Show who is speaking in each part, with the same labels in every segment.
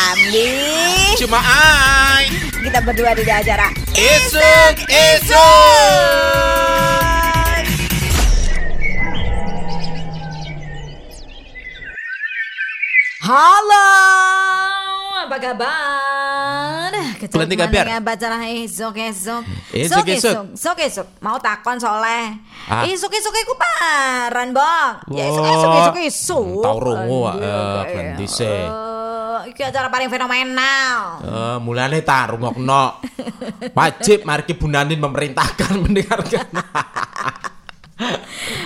Speaker 1: Ramli
Speaker 2: Cuma ai
Speaker 1: Kita berdua di acara
Speaker 2: Esok Esok
Speaker 1: Halo Apa kabar? Kecil
Speaker 2: Pelantik kabar.
Speaker 1: dengan Acara esok-esok
Speaker 2: Esok-esok.
Speaker 1: Esok-esok Mau takon soleh
Speaker 2: Ah.
Speaker 1: Esok-esok aku paran bang Ya esok-esok
Speaker 2: Wah.
Speaker 1: Esok-esok
Speaker 2: Tau rungu,
Speaker 1: Anjir,
Speaker 2: eh,
Speaker 1: kayak,
Speaker 2: ganti sih.
Speaker 1: iya. eh, Iki acara paling fenomenal
Speaker 2: Eh, mulane tak rungokno. Wajib margi bunanin memerintahkan mendengarkan.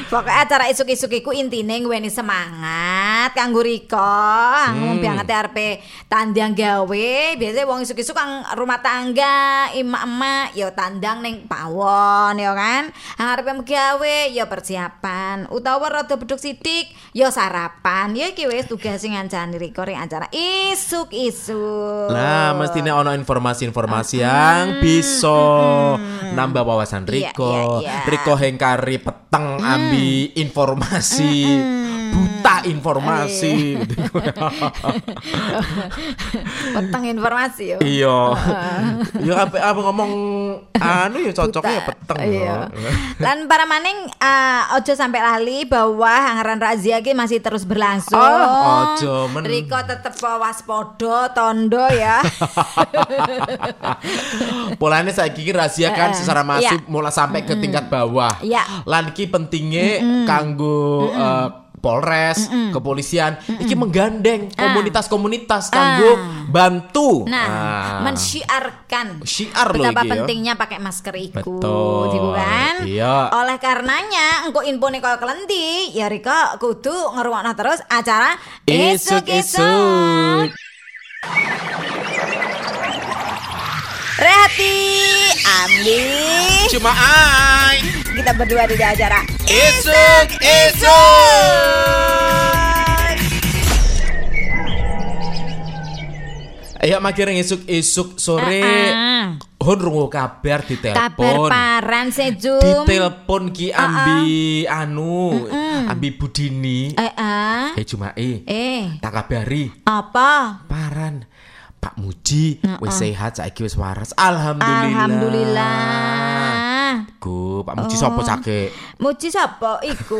Speaker 1: Pokoknya acara isuk-isuk iku intine ngweni semangat kanggo Riko, ngomong banget arep tandang gawe, biasanya wong isuk-isuk kang rumah tangga, emak-emak ya tandang ning pawon ya kan. Arep gawe ya persiapan, utawa rada beduk sidik ya sarapan. Ya iki wis tugas sing ngancani Riko ring acara isuk-isuk.
Speaker 2: Nah, mestinya ono
Speaker 1: Ah,
Speaker 2: informasi-informasi yang bisa nambah wawasan
Speaker 1: Iya, iya, Hmm.
Speaker 2: Riko.
Speaker 1: iya.
Speaker 2: Riko hengkari peteng ambi informasi,
Speaker 1: Hmm,
Speaker 2: buta informasi.
Speaker 1: Peteng informasi yo.
Speaker 2: Iya. Ya apa apa ngomong anu ya cocoknya ya
Speaker 1: Buta.
Speaker 2: peteng.
Speaker 1: Iya.
Speaker 2: ya.
Speaker 1: Lan para maning eh, ojo sampai lali bahwa hangaran razia ki masih terus berlangsung.
Speaker 2: Ah, ojo, men.
Speaker 1: Riko tetep waspada tondo ya.
Speaker 2: Polanya saya kira rahasia kan
Speaker 1: Eh,
Speaker 2: secara masif mulai sampai ke tingkat bawah.
Speaker 1: Iya.
Speaker 2: Lan iki pentingnya kanggo eh, Polres, kepolisian, iki menggandeng komunitas-komunitas kanggo
Speaker 1: Ah.
Speaker 2: bantu.
Speaker 1: Nah,
Speaker 2: Ah.
Speaker 1: mensyiarkan
Speaker 2: Syiar loh
Speaker 1: betapa
Speaker 2: iki ya.
Speaker 1: pentingnya pakai masker iku,
Speaker 2: Betul.
Speaker 1: gitu kan?
Speaker 2: Iya.
Speaker 1: Oleh karenanya, engko infone koyo kelenti, ya Riko kudu ngeruangno terus acara
Speaker 2: Isuk-isuk.
Speaker 1: Rehati, Amli,
Speaker 2: Cuma ai.
Speaker 1: kita berdua di acara
Speaker 2: Esok, esok. Ayo makiring esuk-esuk sore.
Speaker 1: Ah,
Speaker 2: Hon rungu kabar di
Speaker 1: Kabar Uh-uh.
Speaker 2: telepon.
Speaker 1: paran sejum.
Speaker 2: Ditelepon Ki Ambi anu, Ambi Budini.
Speaker 1: Eh, ah.
Speaker 2: Eh cuma eh
Speaker 1: eh,
Speaker 2: tak kabari
Speaker 1: apa?
Speaker 2: paran Pak Muji wis sehat saiki wis waras. Alhamdulillah.
Speaker 1: Alhamdulillah.
Speaker 2: Go, Pak
Speaker 1: Oh.
Speaker 2: Muji sopo cake?
Speaker 1: Muji sapa iku?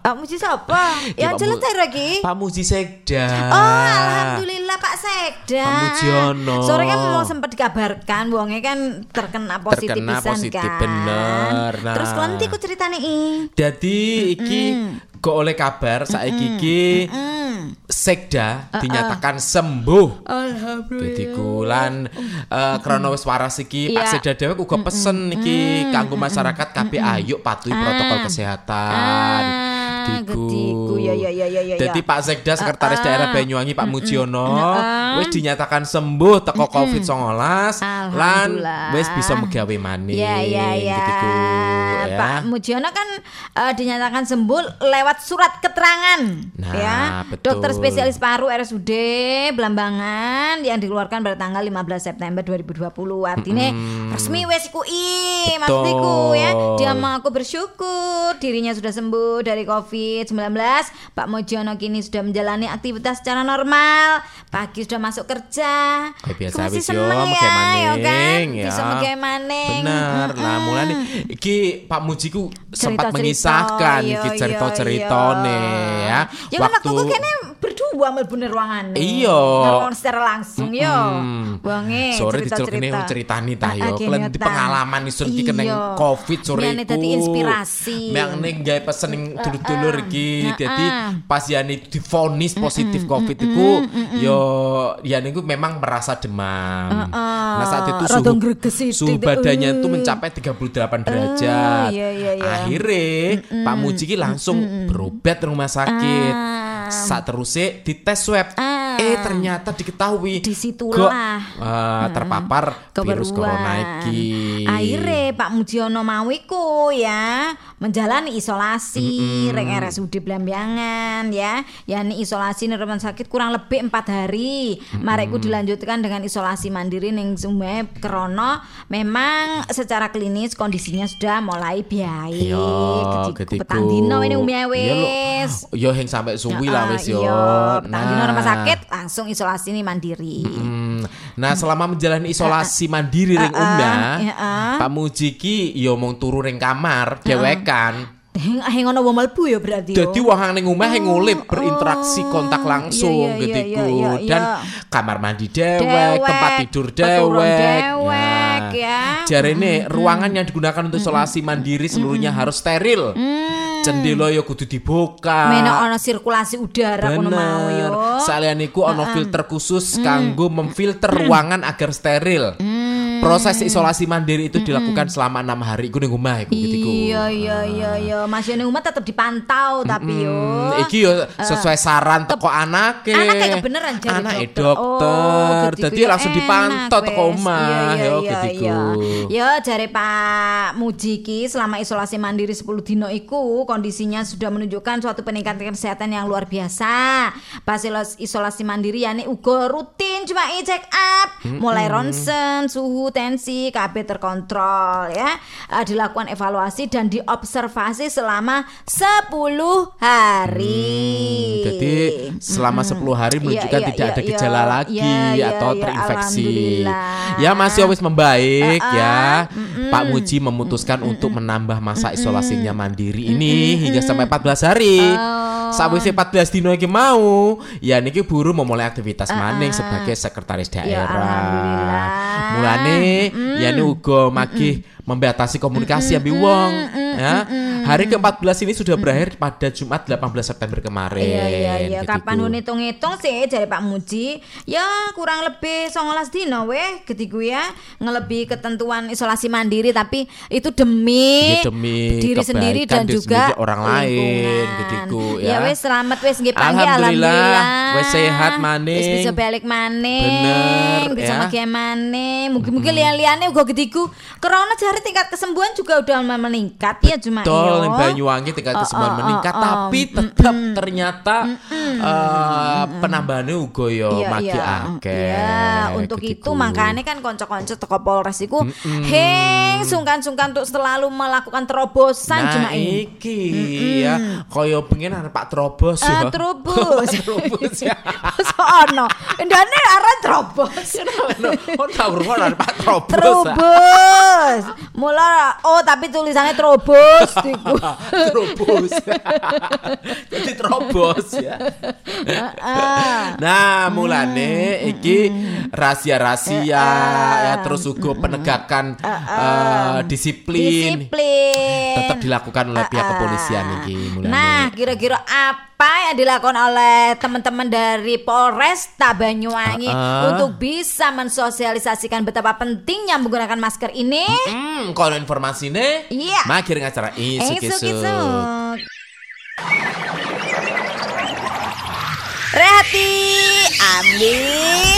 Speaker 1: Pak Muji sapa? Ya
Speaker 2: Ya, Pak Mu-
Speaker 1: jelas lagi.
Speaker 2: Pak Muji Sekda.
Speaker 1: Oh, alhamdulillah Pak Sekda.
Speaker 2: Pak Mujiono.
Speaker 1: Sore kan mau sempat dikabarkan wonge kan terkena positif
Speaker 2: Terkena
Speaker 1: pisan
Speaker 2: positif,
Speaker 1: kan.
Speaker 2: bener. Nah.
Speaker 1: Terus nanti ku ceritane i.
Speaker 2: Jadi iki kok oleh kabar saiki iki Sekda
Speaker 1: Uh-uh.
Speaker 2: dinyatakan sembuh.
Speaker 1: Alhamdulillah.
Speaker 2: Dadi kulan eh, krana wis waras iki Pak
Speaker 1: Iya.
Speaker 2: Sekda dewek uga pesen iki kanggo masyarakat kabeh ayo patuhi protokol kesehatan.
Speaker 1: Ah, gediku. Ya, ya, ya, ya, Ah, ya,
Speaker 2: Dadi
Speaker 1: ya.
Speaker 2: Pak Sekda Sekretaris Daerah Banyuwangi Pak Mujiono wis dinyatakan sembuh teko Covid-19 lan
Speaker 1: Alhamdulillah.
Speaker 2: wis bisa megawe maneh.
Speaker 1: Ya ya ya.
Speaker 2: Gediku, ya.
Speaker 1: Pak Mujiono kan eh, dinyatakan sembuh lewat surat keterangan
Speaker 2: Nah,
Speaker 1: ya.
Speaker 2: betul.
Speaker 1: Dokter spesialis paru RSUD Blambangan yang dikeluarkan pada tanggal 15 September 2020. Artinya
Speaker 2: Hmm.
Speaker 1: resmi wes iku i, maksudku ya. Dia mengaku bersyukur dirinya sudah sembuh dari Covid-19. Pak Mujiono kini sudah menjalani aktivitas secara normal. Pagi sudah masuk kerja.
Speaker 2: Kayak biasa
Speaker 1: Aku masih
Speaker 2: wis yo
Speaker 1: seneng
Speaker 2: mege maning
Speaker 1: ya kan?
Speaker 2: ya.
Speaker 1: Bisa mege maning.
Speaker 2: Bener. Lah
Speaker 1: Mm-mm.
Speaker 2: mulane iki Pak Mujiku
Speaker 1: Cerita-cerita,
Speaker 2: sempat mengisahkan
Speaker 1: iya,
Speaker 2: iki
Speaker 1: iya,
Speaker 2: cerita-ceritane
Speaker 1: iya.
Speaker 2: ya.
Speaker 1: Ya kan waktu ku kene berdua mlebu ning ruangane.
Speaker 2: Iya.
Speaker 1: Ngeruang secara langsung yo.
Speaker 2: Mm-mm.
Speaker 1: Wonge
Speaker 2: Sore diceluk
Speaker 1: cerita-cerita.
Speaker 2: oh, kene wong ceritani ta
Speaker 1: Ah, ah,
Speaker 2: yo.
Speaker 1: kene
Speaker 2: Kelen di
Speaker 1: ta.
Speaker 2: pengalaman isun iki kene
Speaker 1: Iya.
Speaker 2: Covid sore
Speaker 1: Miane
Speaker 2: iku.
Speaker 1: dadi inspirasi.
Speaker 2: Miane gawe pesen ning dulur-dulur iki.
Speaker 1: Ah, ah.
Speaker 2: Dadi pas yani divonis positif Covid iku yo yani iku memang merasa
Speaker 1: ah.
Speaker 2: demam. Nah saat itu
Speaker 1: Rada
Speaker 2: suhu
Speaker 1: ngreges sithik.
Speaker 2: suhu badannya itu mencapai 38 derajat.
Speaker 1: iya, iya, iya.
Speaker 2: Akhirnya Pak Muji ki langsung berobat rumah sakit.
Speaker 1: Ah.
Speaker 2: Saat terusnya dites swab.
Speaker 1: Ah.
Speaker 2: Eh ternyata diketahui
Speaker 1: Disitulah.
Speaker 2: go- eh, terpapar virus
Speaker 1: Keberuan.
Speaker 2: corona iki.
Speaker 1: Akhire Pak Mujiono mawiku ya menjalani isolasi rek RSUD Blambangan ya. Yani isolasi di rumah sakit kurang lebih empat hari. Marekku dilanjutkan dengan isolasi mandiri ning Sumeh Krono memang secara klinis kondisinya sudah mulai baik.
Speaker 2: Iya,
Speaker 1: Gediku
Speaker 2: gediku.
Speaker 1: petang dino ini umumnya
Speaker 2: Iya, lho.
Speaker 1: wis.
Speaker 2: Yo hing sampai suwi
Speaker 1: Ah,
Speaker 2: lah wis yo. Nah.
Speaker 1: Iya, petang dino rumah sakit, ah langsung isolasi ini mandiri.
Speaker 2: Hmm. Nah, selama menjalani isolasi mandiri ring unda,
Speaker 1: iya, ah.
Speaker 2: Pak Mujiki yo mong turu ring kamar dhewekan.
Speaker 1: Heng heng ono wong mlebu ya berarti. yo.
Speaker 2: Jadi wahang ning omah yang ngulip berinteraksi kontak langsung
Speaker 1: Oh, iya, iya,
Speaker 2: gitu
Speaker 1: iya, iya, iya.
Speaker 2: dan kamar mandi dewek, tempat tidur
Speaker 1: peturun
Speaker 2: dewek. Nah,
Speaker 1: dewek, ya.
Speaker 2: Jarene ruangan yang digunakan untuk isolasi mandiri seluruhnya harus steril.
Speaker 1: Mm.
Speaker 2: Cendela yo kudu dibuka.
Speaker 1: Meno ono sirkulasi udara kono mau yo. Mm.
Speaker 2: Bener. Salian iku ono filter khusus kanggo memfilter ruangan agar steril.
Speaker 1: Mm.
Speaker 2: Proses isolasi mandiri itu dilakukan selama enam hari. Iku ning omah iku gitu iku.
Speaker 1: Iya iya iya iya. Masih ning omah tetep dipantau tapi yo. Eh,
Speaker 2: Hmm, Iki yo sesuai saran teko anake.
Speaker 1: anake kebeneran jadi
Speaker 2: Anake
Speaker 1: dokter.
Speaker 2: dokter.
Speaker 1: Oh, gitu
Speaker 2: Dadi
Speaker 1: ya,
Speaker 2: langsung dipantau
Speaker 1: enak,
Speaker 2: teko
Speaker 1: wes.
Speaker 2: omah.
Speaker 1: Iya,
Speaker 2: Yo
Speaker 1: iya,
Speaker 2: gitu
Speaker 1: iya.
Speaker 2: iku.
Speaker 1: Ya jare Pak Mujiki selama isolasi mandiri 10 dino iku kondisinya sudah menunjukkan suatu peningkatan kesehatan yang luar biasa. Pas ilos- isolasi mandiri yani uga rutin cuma cek up, mulai ronsen, suhu, tensi, kabeh terkontrol ya. Eh, dilakukan evaluasi dan diobservasi selama 10 hari.
Speaker 2: Hmm, Jadi selama 10 hari menunjukkan
Speaker 1: iya,
Speaker 2: tidak
Speaker 1: iya,
Speaker 2: ada
Speaker 1: iya.
Speaker 2: gejala lagi
Speaker 1: Iya, iya,
Speaker 2: atau
Speaker 1: iya,
Speaker 2: terinfeksi.
Speaker 1: alhamdulillah.
Speaker 2: Ya masih wis membaik
Speaker 1: Uh-uh,
Speaker 2: ya. Pak Muji memutuskan untuk menambah masa isolasinya mandiri ini hingga sampai 14 hari.
Speaker 1: Oh.
Speaker 2: Sawise 14 dino iki mau, ya niki buru memulai aktivitas maning sebagai sekretaris
Speaker 1: Ya, alhamdulillah.
Speaker 2: daerah. Mulane ya ini uga magih membatasi komunikasi ambi wong ya. Hari ke-14 ini sudah berakhir pada Jumat 18 September kemarin.
Speaker 1: Iya iya iya
Speaker 2: gitu.
Speaker 1: kapan lu ngitung-ngitung sih dari Pak Muji ya kurang lebih 19 dino weh getiku ya ngelebihi ketentuan isolasi mandiri tapi itu demi
Speaker 2: Ya, demi
Speaker 1: diri sendiri
Speaker 2: kebaikan
Speaker 1: dan
Speaker 2: diri
Speaker 1: juga
Speaker 2: sendiri, orang lain,
Speaker 1: lingkungan.
Speaker 2: getiku,
Speaker 1: ya.
Speaker 2: ya.
Speaker 1: wes selamat wes nggih panggi
Speaker 2: Alhamdulillah,
Speaker 1: alhamdulillah
Speaker 2: wes sehat maning.
Speaker 1: Wes bisa balik
Speaker 2: Bener,
Speaker 1: maning bisa
Speaker 2: ya.
Speaker 1: ngegem maning mungkin-mungkin lian-liane uga getiku karena jari tingkat kesembuhan juga udah meningkat ya cuma
Speaker 2: Betul,
Speaker 1: iyo.
Speaker 2: ning Banyuwangi tingkat
Speaker 1: Oh,
Speaker 2: kesembuhan
Speaker 1: oh,
Speaker 2: meningkat,
Speaker 1: oh, oh.
Speaker 2: tapi tetap ternyata eh, penambahannya uga yo magi akeh.
Speaker 1: Iya, untuk
Speaker 2: ah,
Speaker 1: itu
Speaker 2: gitu.
Speaker 1: makanya kan konco-konco teko Polres iku heng sungkan-sungkan untuk selalu melakukan terobosan
Speaker 2: Nah,
Speaker 1: cuma ini.
Speaker 2: iki ya, kaya pengen anak Pak Trobos
Speaker 1: Eh,
Speaker 2: ya.
Speaker 1: terobos.
Speaker 2: Pak Trobos ya.
Speaker 1: Masa ono. Endane arah terobos.
Speaker 2: Ya, Ono ono tau rumah anak Pak Trobos. ah.
Speaker 1: Terobos. Mula oh tapi tulisannya terobos iku.
Speaker 2: terobos jadi terobos ya nah mulane iki rahasia-rahasia ya terus juga penegakan eh, disiplin
Speaker 1: Disiplin.
Speaker 2: tetap dilakukan oleh pihak
Speaker 1: Ah,
Speaker 2: kepolisian
Speaker 1: ah.
Speaker 2: iki mulane
Speaker 1: Nah, kira-kira apa yang dilakukan oleh teman-teman dari Polresta Banyuwangi
Speaker 2: Ah, ah.
Speaker 1: untuk bisa mensosialisasikan betapa pentingnya menggunakan masker ini?
Speaker 2: Hmm, kalau informasinya,
Speaker 1: Iya.
Speaker 2: makin ngacara isuk-isuk.
Speaker 1: Esuk-esuk. Rehati, Amli,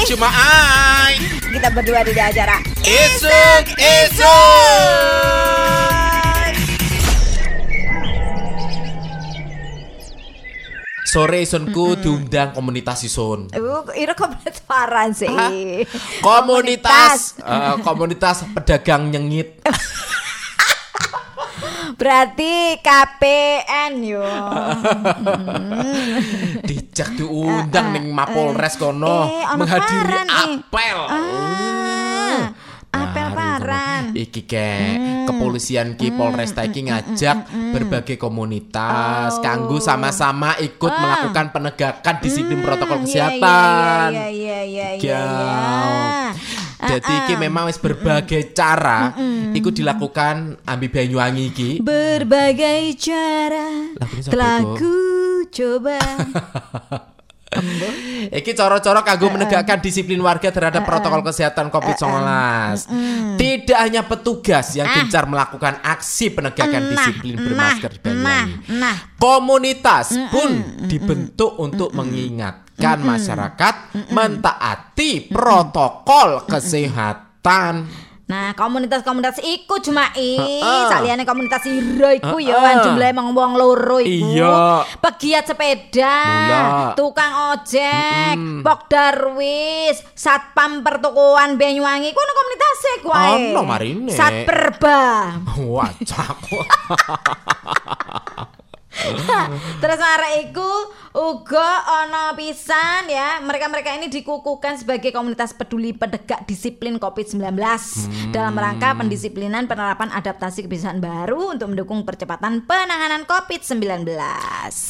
Speaker 2: Cuma ai,
Speaker 1: kita berdua di acara
Speaker 2: isuk-isuk. Sore isunku diundang komunitas isun.
Speaker 1: Uh, ini komplit parah sih.
Speaker 2: Komunitas, eh, komunitas pedagang nyengit.
Speaker 1: Berarti KPN yo.
Speaker 2: Dijak diundang ning Mapolres kono
Speaker 1: eh, ono
Speaker 2: menghadiri
Speaker 1: paran, eh.
Speaker 2: apel. Oh.
Speaker 1: Ah, apel
Speaker 2: Baru
Speaker 1: paran. Hmm.
Speaker 2: kono. Iki ke kepolisian ki Polresta iki ngajak berbagai komunitas kanggo
Speaker 1: Oh.
Speaker 2: sama-sama ikut
Speaker 1: Ah.
Speaker 2: melakukan penegakan disiplin protokol kesehatan.
Speaker 1: Hmm, Iya iya iya iya. iya,
Speaker 2: Giau.
Speaker 1: iya.
Speaker 2: Jadi iki memang wis berbagai cara iku dilakukan ambi Banyuwangi iki.
Speaker 1: Berbagai cara
Speaker 2: Lagunya siapa
Speaker 1: telah
Speaker 2: itu?
Speaker 1: ku coba.
Speaker 2: Iki coro-coro
Speaker 1: Eh,
Speaker 2: kanggo menegakkan disiplin warga terhadap protokol kesehatan COVID-19.
Speaker 1: Eh,
Speaker 2: Tidak hanya petugas
Speaker 1: Ah.
Speaker 2: yang gencar melakukan aksi penegakan Kan disiplin bermasker
Speaker 1: nah,
Speaker 2: di Banyuwangi.
Speaker 1: nah.
Speaker 2: Komunitas
Speaker 1: Mm,
Speaker 2: pun dibentuk untuk mengingatkan masyarakat
Speaker 1: Mm,
Speaker 2: mentaati protokol kesehatan.
Speaker 1: Nah, komunitas-komunitas iku cuma i,
Speaker 2: Heeh.
Speaker 1: saliyane komunitas Hiro iku ya
Speaker 2: Heeh.
Speaker 1: kan jumlahe mung wong loro iku.
Speaker 2: Iya.
Speaker 1: Pegiat sepeda,
Speaker 2: Mula.
Speaker 1: tukang ojek, pokdarwis, satpam pertokoan Banyuwangi ku ono komunitas e kuwi.
Speaker 2: Ono marine.
Speaker 1: Satperba.
Speaker 2: Wah, cakep.
Speaker 1: Terus marek iku uga ana pisan ya. Mereka-mereka ini dikukuhkan sebagai komunitas peduli penegak disiplin COVID-19
Speaker 2: Hmm.
Speaker 1: dalam rangka pendisiplinan penerapan adaptasi kebiasaan baru untuk mendukung percepatan penanganan COVID-19.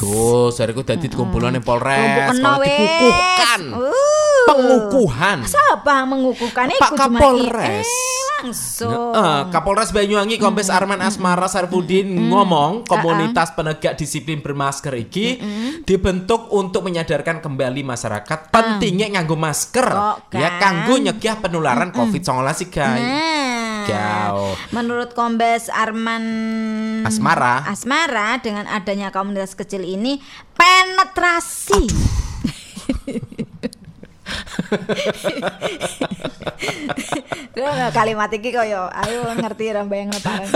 Speaker 2: Tuh, sariku
Speaker 1: Mm,
Speaker 2: dadi kumpulan yang Polres,
Speaker 1: Kumpul
Speaker 2: kalau
Speaker 1: wes.
Speaker 2: dikukuhkan.
Speaker 1: Uh.
Speaker 2: Pengukuhan.
Speaker 1: Siapa mengukuhkan iku
Speaker 2: Pak
Speaker 1: cuma i-
Speaker 2: Kapolres. Ya,
Speaker 1: eh, langsung.
Speaker 2: Heeh, Eh, Kapolres Banyuwangi Kombes
Speaker 1: Hmm.
Speaker 2: Arman Asmara Sarfudin ngomong komunitas penegak disiplin bermasker iki
Speaker 1: Hmm.
Speaker 2: dibentuk untuk menyadarkan kembali masyarakat pentingnya nganggo masker
Speaker 1: Hmm. Kok
Speaker 2: ya
Speaker 1: kan? Hmm.
Speaker 2: kanggo nyegah penularan COVID-19 guys.
Speaker 1: Nah,
Speaker 2: Jauh.
Speaker 1: Menurut Kombes Arman
Speaker 2: Asmara.
Speaker 1: Asmara dengan adanya komunitas kecil ini penetrasi. Aduh. Kalimat iki koyo ayo ngerti rambayang lebaran.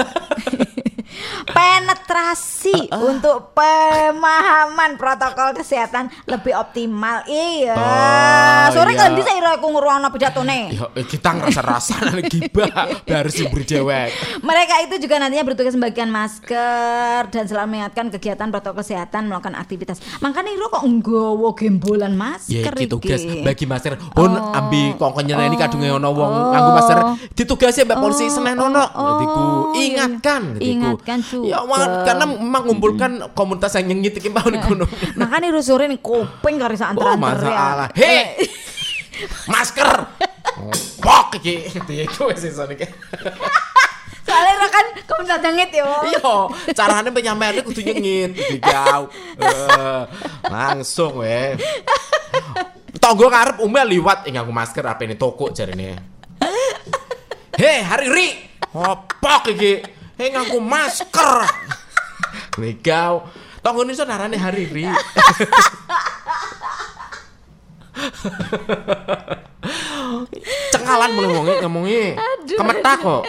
Speaker 1: penetrasi
Speaker 2: Ah,
Speaker 1: untuk pemahaman protokol kesehatan lebih optimal iya
Speaker 2: Oh,
Speaker 1: sore
Speaker 2: iya.
Speaker 1: kan bisa aku ngurungno pidatone
Speaker 2: Ya, eh, kita ngerasa-rasa gibah baru sumber dewek.
Speaker 1: Mereka itu juga nantinya bertugas membagikan masker dan selalu mengingatkan kegiatan protokol kesehatan melakukan aktivitas. Makanya Iro kok nggowo gembolan
Speaker 2: Ya
Speaker 1: masker
Speaker 2: iki tugas
Speaker 1: iki?
Speaker 2: bagi master. Hun
Speaker 1: Oh.
Speaker 2: ambi kongkonya ini kadung ono wong
Speaker 1: Oh.
Speaker 2: nganggo master. Ditugasi Mbak Polisi Senen ono.
Speaker 1: oh,
Speaker 2: Dadi ku
Speaker 1: iya, iya.
Speaker 2: ingatkan dadi ku.
Speaker 1: Ingatkan
Speaker 2: Ya
Speaker 1: juga.
Speaker 2: wah, karena mengumpulkan komunitas yang nyengit iki mau niku. no.
Speaker 1: Makanya Iro sore nih kuping karo sak
Speaker 2: Oh
Speaker 1: antar-antar ya.
Speaker 2: masalah. He. Masker. Pok iki. Dadi ku wis iso niki.
Speaker 1: Soalnya Iro kan komunitas jangit yo.
Speaker 2: Iya, carane penyampaiannya kudu nyengit iki kau. Eh, Langsung weh. Tonggo karep umel liwat ing aku masker apa ini toko jarine. Hei, hari ri. Opok iki. Hei ngaku masker. Nih kau. Tonggo ini narane hari ri. Cengkalan mulai wonge ngomongi. eh. Kemetak kok.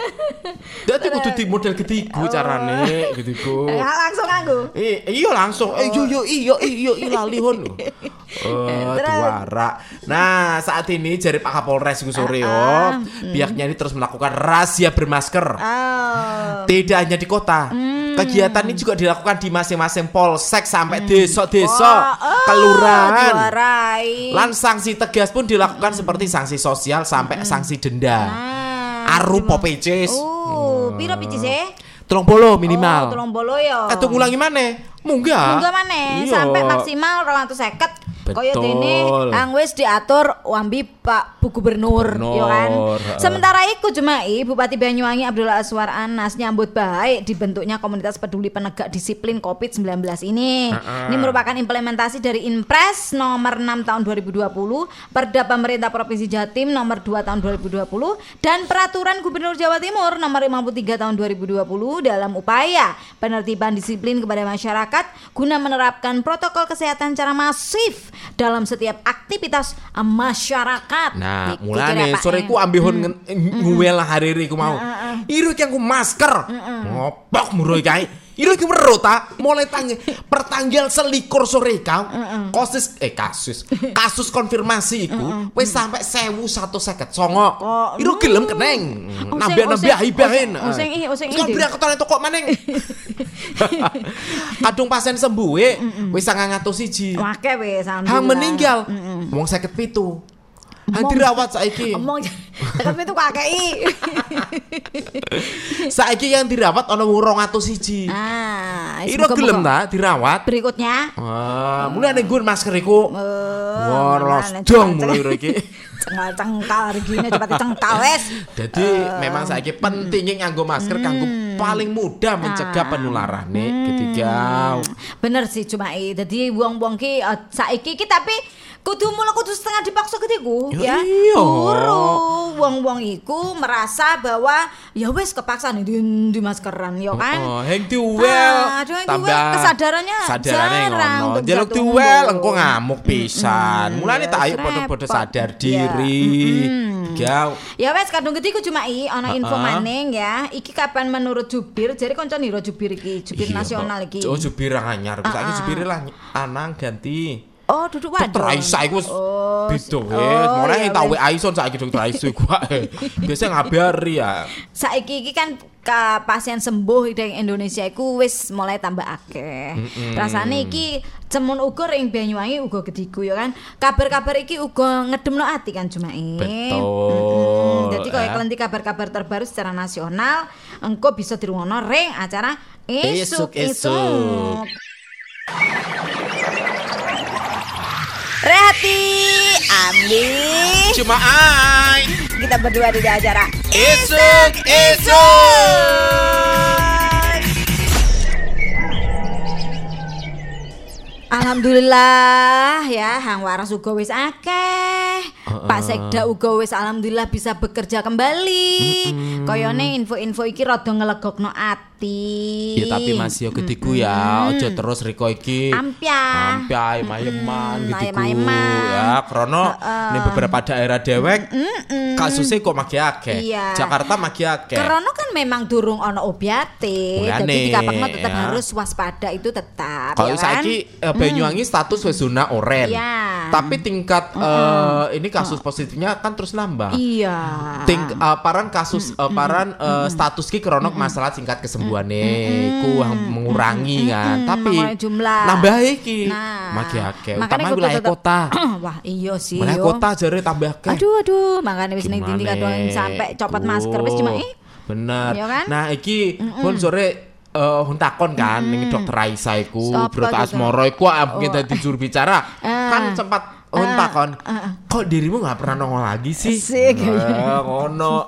Speaker 2: Dadi kudu di model gedigu carane gedigu.
Speaker 1: Ya, langsung aku.
Speaker 2: Eh, iya langsung. Eh, yo yo iya iya iya lali hon. Eh, diwara. Nah, saat ini jari Pak Kapolres iku sore yo. Pihaknya ini terus melakukan razia bermasker.
Speaker 1: Oh.
Speaker 2: Tidak hanya di kota. Kegiatan ini juga dilakukan di masing-masing polsek sampai desa-desa,
Speaker 1: Oh,
Speaker 2: kelurahan.
Speaker 1: Juarai.
Speaker 2: Lan sanksi tegas pun dilakukan seperti sanksi sosial sampai sanksi denda.
Speaker 1: Nah,
Speaker 2: Aru popeces.
Speaker 1: Uh, piro picis e?
Speaker 2: Tolong
Speaker 1: Oh,
Speaker 2: polo minimal.
Speaker 1: tolong bolo yo.
Speaker 2: Atau ngulangi mana? Munggah.
Speaker 1: Enggak maneh
Speaker 2: Iya.
Speaker 1: sampai maksimal 250. Kaya
Speaker 2: Betul.
Speaker 1: dene ang wis diatur wambi Pak Bu Gubernur, ya kan.
Speaker 2: Gubernur, heeh.
Speaker 1: Sementara iku Jumai Bupati Banyuwangi Abdullah Aswar Anas nyambut baik dibentuknya komunitas peduli penegak disiplin Covid-19 ini. Ini merupakan implementasi dari Impres nomor 6 tahun 2020, Perda Pemerintah Provinsi Jatim nomor 2 tahun 2020 dan peraturan Gubernur Jawa Timur nomor 53 tahun 2020 dalam upaya penertiban disiplin kepada masyarakat guna menerapkan protokol kesehatan secara masif dalam setiap aktivitas eh, masyarakat.
Speaker 2: Nah,
Speaker 1: Iku
Speaker 2: mulane
Speaker 1: cerapake.
Speaker 2: sore ku ambil hon ngen-
Speaker 1: Hmm.
Speaker 2: nguel lah hari ini ku mau.
Speaker 1: Nah, ah,
Speaker 2: Iru iki aku masker.
Speaker 1: Hmm.
Speaker 2: Ngopok muroi kae. Iru iki weruh ta, mulai tanggal pertanggal selikur sore kau.
Speaker 1: Hmm,
Speaker 2: Kasus eh kasus. Kasus konfirmasi iku wis sampai 1159.
Speaker 1: Hmm, Kok, hmm.
Speaker 2: Iru gelem keneng.
Speaker 1: Useng,
Speaker 2: Nambah-nambah
Speaker 1: useng,
Speaker 2: hibahin.
Speaker 1: useng, useng, ih, useng,
Speaker 2: Kau
Speaker 1: ih,
Speaker 2: berang ketone toko maning. Kadung pasien sembuh eh,
Speaker 1: Hmm,
Speaker 2: wis 901.
Speaker 1: Wake wis alhamdulillah.
Speaker 2: Hang meninggal. Wong sakit pitu. Hang
Speaker 1: Omong-
Speaker 2: dirawat saiki.
Speaker 1: Mm. Omong tapi itu kakei.
Speaker 2: Saiki yang dirawat ana wong 201.
Speaker 1: Ah,
Speaker 2: Ira
Speaker 1: semoga-
Speaker 2: gelem ta dirawat?
Speaker 1: Berikutnya.
Speaker 2: Wah, mulai nih gue masker iku. Wah,
Speaker 1: mana
Speaker 2: los
Speaker 1: nih,
Speaker 2: dong
Speaker 1: cengkal-
Speaker 2: mulai ira iki.
Speaker 1: Cengkal cengkal regine cepat cengkal wes.
Speaker 2: Jadi
Speaker 1: Eh,
Speaker 2: memang saiki pentingnya nganggo masker kanggo
Speaker 1: mm.
Speaker 2: paling mudah mencegah
Speaker 1: Ah,
Speaker 2: penularan nih ketiga.
Speaker 1: Bener sih cuma i. Jadi buang-buang ki eh, saiki ki tapi kudu mulu kudu setengah dipaksa ketiku ya.
Speaker 2: Ya iya.
Speaker 1: Turu wong-wong iku merasa bahwa ya wes kepaksa nih di, di maskeran ya kan.
Speaker 2: Oh, heng duel.
Speaker 1: Ah, aduh, heng duel. Kesadarannya
Speaker 2: kesadarannya
Speaker 1: jarang
Speaker 2: ngono.
Speaker 1: untuk
Speaker 2: Jaluk
Speaker 1: jatuh
Speaker 2: duel
Speaker 1: mulu.
Speaker 2: engko ngamuk pisan. Mulane
Speaker 1: iya,
Speaker 2: tak ayo
Speaker 1: repot.
Speaker 2: padha-padha sadar
Speaker 1: Iya.
Speaker 2: diri. Gau.
Speaker 1: Ya wes kadung gede iku cuma i ana info
Speaker 2: Heeh.
Speaker 1: maning ya. Iki kapan menurut jubir? Jadi konco niro jubir iki, jubir nasional iki. Ah,
Speaker 2: Oh, jubir anyar. Saiki jubir lah anang ganti.
Speaker 1: Oh, duduk waduh.
Speaker 2: Dokter Aisyah iku wis
Speaker 1: Oh,
Speaker 2: beda
Speaker 1: s-
Speaker 2: wis.
Speaker 1: oh,
Speaker 2: Ora
Speaker 1: iya,
Speaker 2: yen tak
Speaker 1: wes.
Speaker 2: WA Aison saiki dokter Aisyah iku. wae. Biasa eh. ngabari ya.
Speaker 1: Saiki iki kan ka- pasien sembuh dari Indonesia iku wis mulai tambah akeh. Rasane iki cemun ukur ing Banyuwangi uga gediku ya kan. Kabar-kabar iki uga ngedemno ati kan Jumae.
Speaker 2: Betul,
Speaker 1: Mm-mm. Jadi kaya
Speaker 2: ya.
Speaker 1: kelenti kabar-kabar terbaru secara nasional, engko bisa dirungono ring acara
Speaker 2: Esuk-esuk.
Speaker 1: esuk-esuk. Rehati, Amli,
Speaker 2: Cuma ai
Speaker 1: kita berdua di acara
Speaker 2: esuk esuk.
Speaker 1: Alhamdulillah ya Hang Waras uga wis akeh.
Speaker 2: Heeh.
Speaker 1: Pak Sekda uga wis alhamdulillah bisa bekerja kembali. Koyone info-info iki rada ngelegokno ati.
Speaker 2: Ya tapi masih yo gediku ya, ojo terus Riko iki.
Speaker 1: Ampiah.
Speaker 2: Ampiah, mayeman
Speaker 1: Mm-mm,
Speaker 2: gediku.
Speaker 1: mayem-mayeman.
Speaker 2: Ya, krono ning beberapa daerah dewek kasusnya kok magi akeh.
Speaker 1: Iya.
Speaker 2: Jakarta magi akeh.
Speaker 1: Karena kan memang durung ono obyate,
Speaker 2: Mulane,
Speaker 1: jadi dikapakno tetap
Speaker 2: ya.
Speaker 1: harus waspada itu tetap.
Speaker 2: Kalau
Speaker 1: ya kan?
Speaker 2: saiki eh, Banyuwangi status wis zona oranye.
Speaker 1: Iya.
Speaker 2: Tapi tingkat eh, ini kasus positifnya kan terus nambah.
Speaker 1: Iya.
Speaker 2: Ting eh, paran kasus
Speaker 1: Mm,
Speaker 2: eh, paran eh, status ki krono masalah tingkat kesembuhane
Speaker 1: Mm,
Speaker 2: iku yang mengurangi kan. Tapi
Speaker 1: mengurangi mm, jumlah.
Speaker 2: nambah iki.
Speaker 1: Nah,
Speaker 2: Magi akeh.
Speaker 1: makanya
Speaker 2: Utama
Speaker 1: kudu
Speaker 2: wilayah
Speaker 1: tetep-
Speaker 2: kota.
Speaker 1: Wah, iya sih.
Speaker 2: Wilayah
Speaker 1: yo.
Speaker 2: kota jare tambah akeh.
Speaker 1: Aduh aduh, makanya wis ning tindi
Speaker 2: Gimana?
Speaker 1: kadang sampai copot
Speaker 2: Iku.
Speaker 1: masker wis cuma eh
Speaker 2: Bener.
Speaker 1: Iya kan?
Speaker 2: Nah, iki pun sore eh hun takon kan ning dokter Raisa iku,
Speaker 1: Sapa
Speaker 2: Bro
Speaker 1: gitu?
Speaker 2: Asmoro iku oh. kita jujur bicara.
Speaker 1: Ah.
Speaker 2: Kan sempat hun takon. Kok dirimu nggak pernah nongol lagi
Speaker 1: Eh.
Speaker 2: sih?
Speaker 1: Asik.
Speaker 2: Eh, ngono.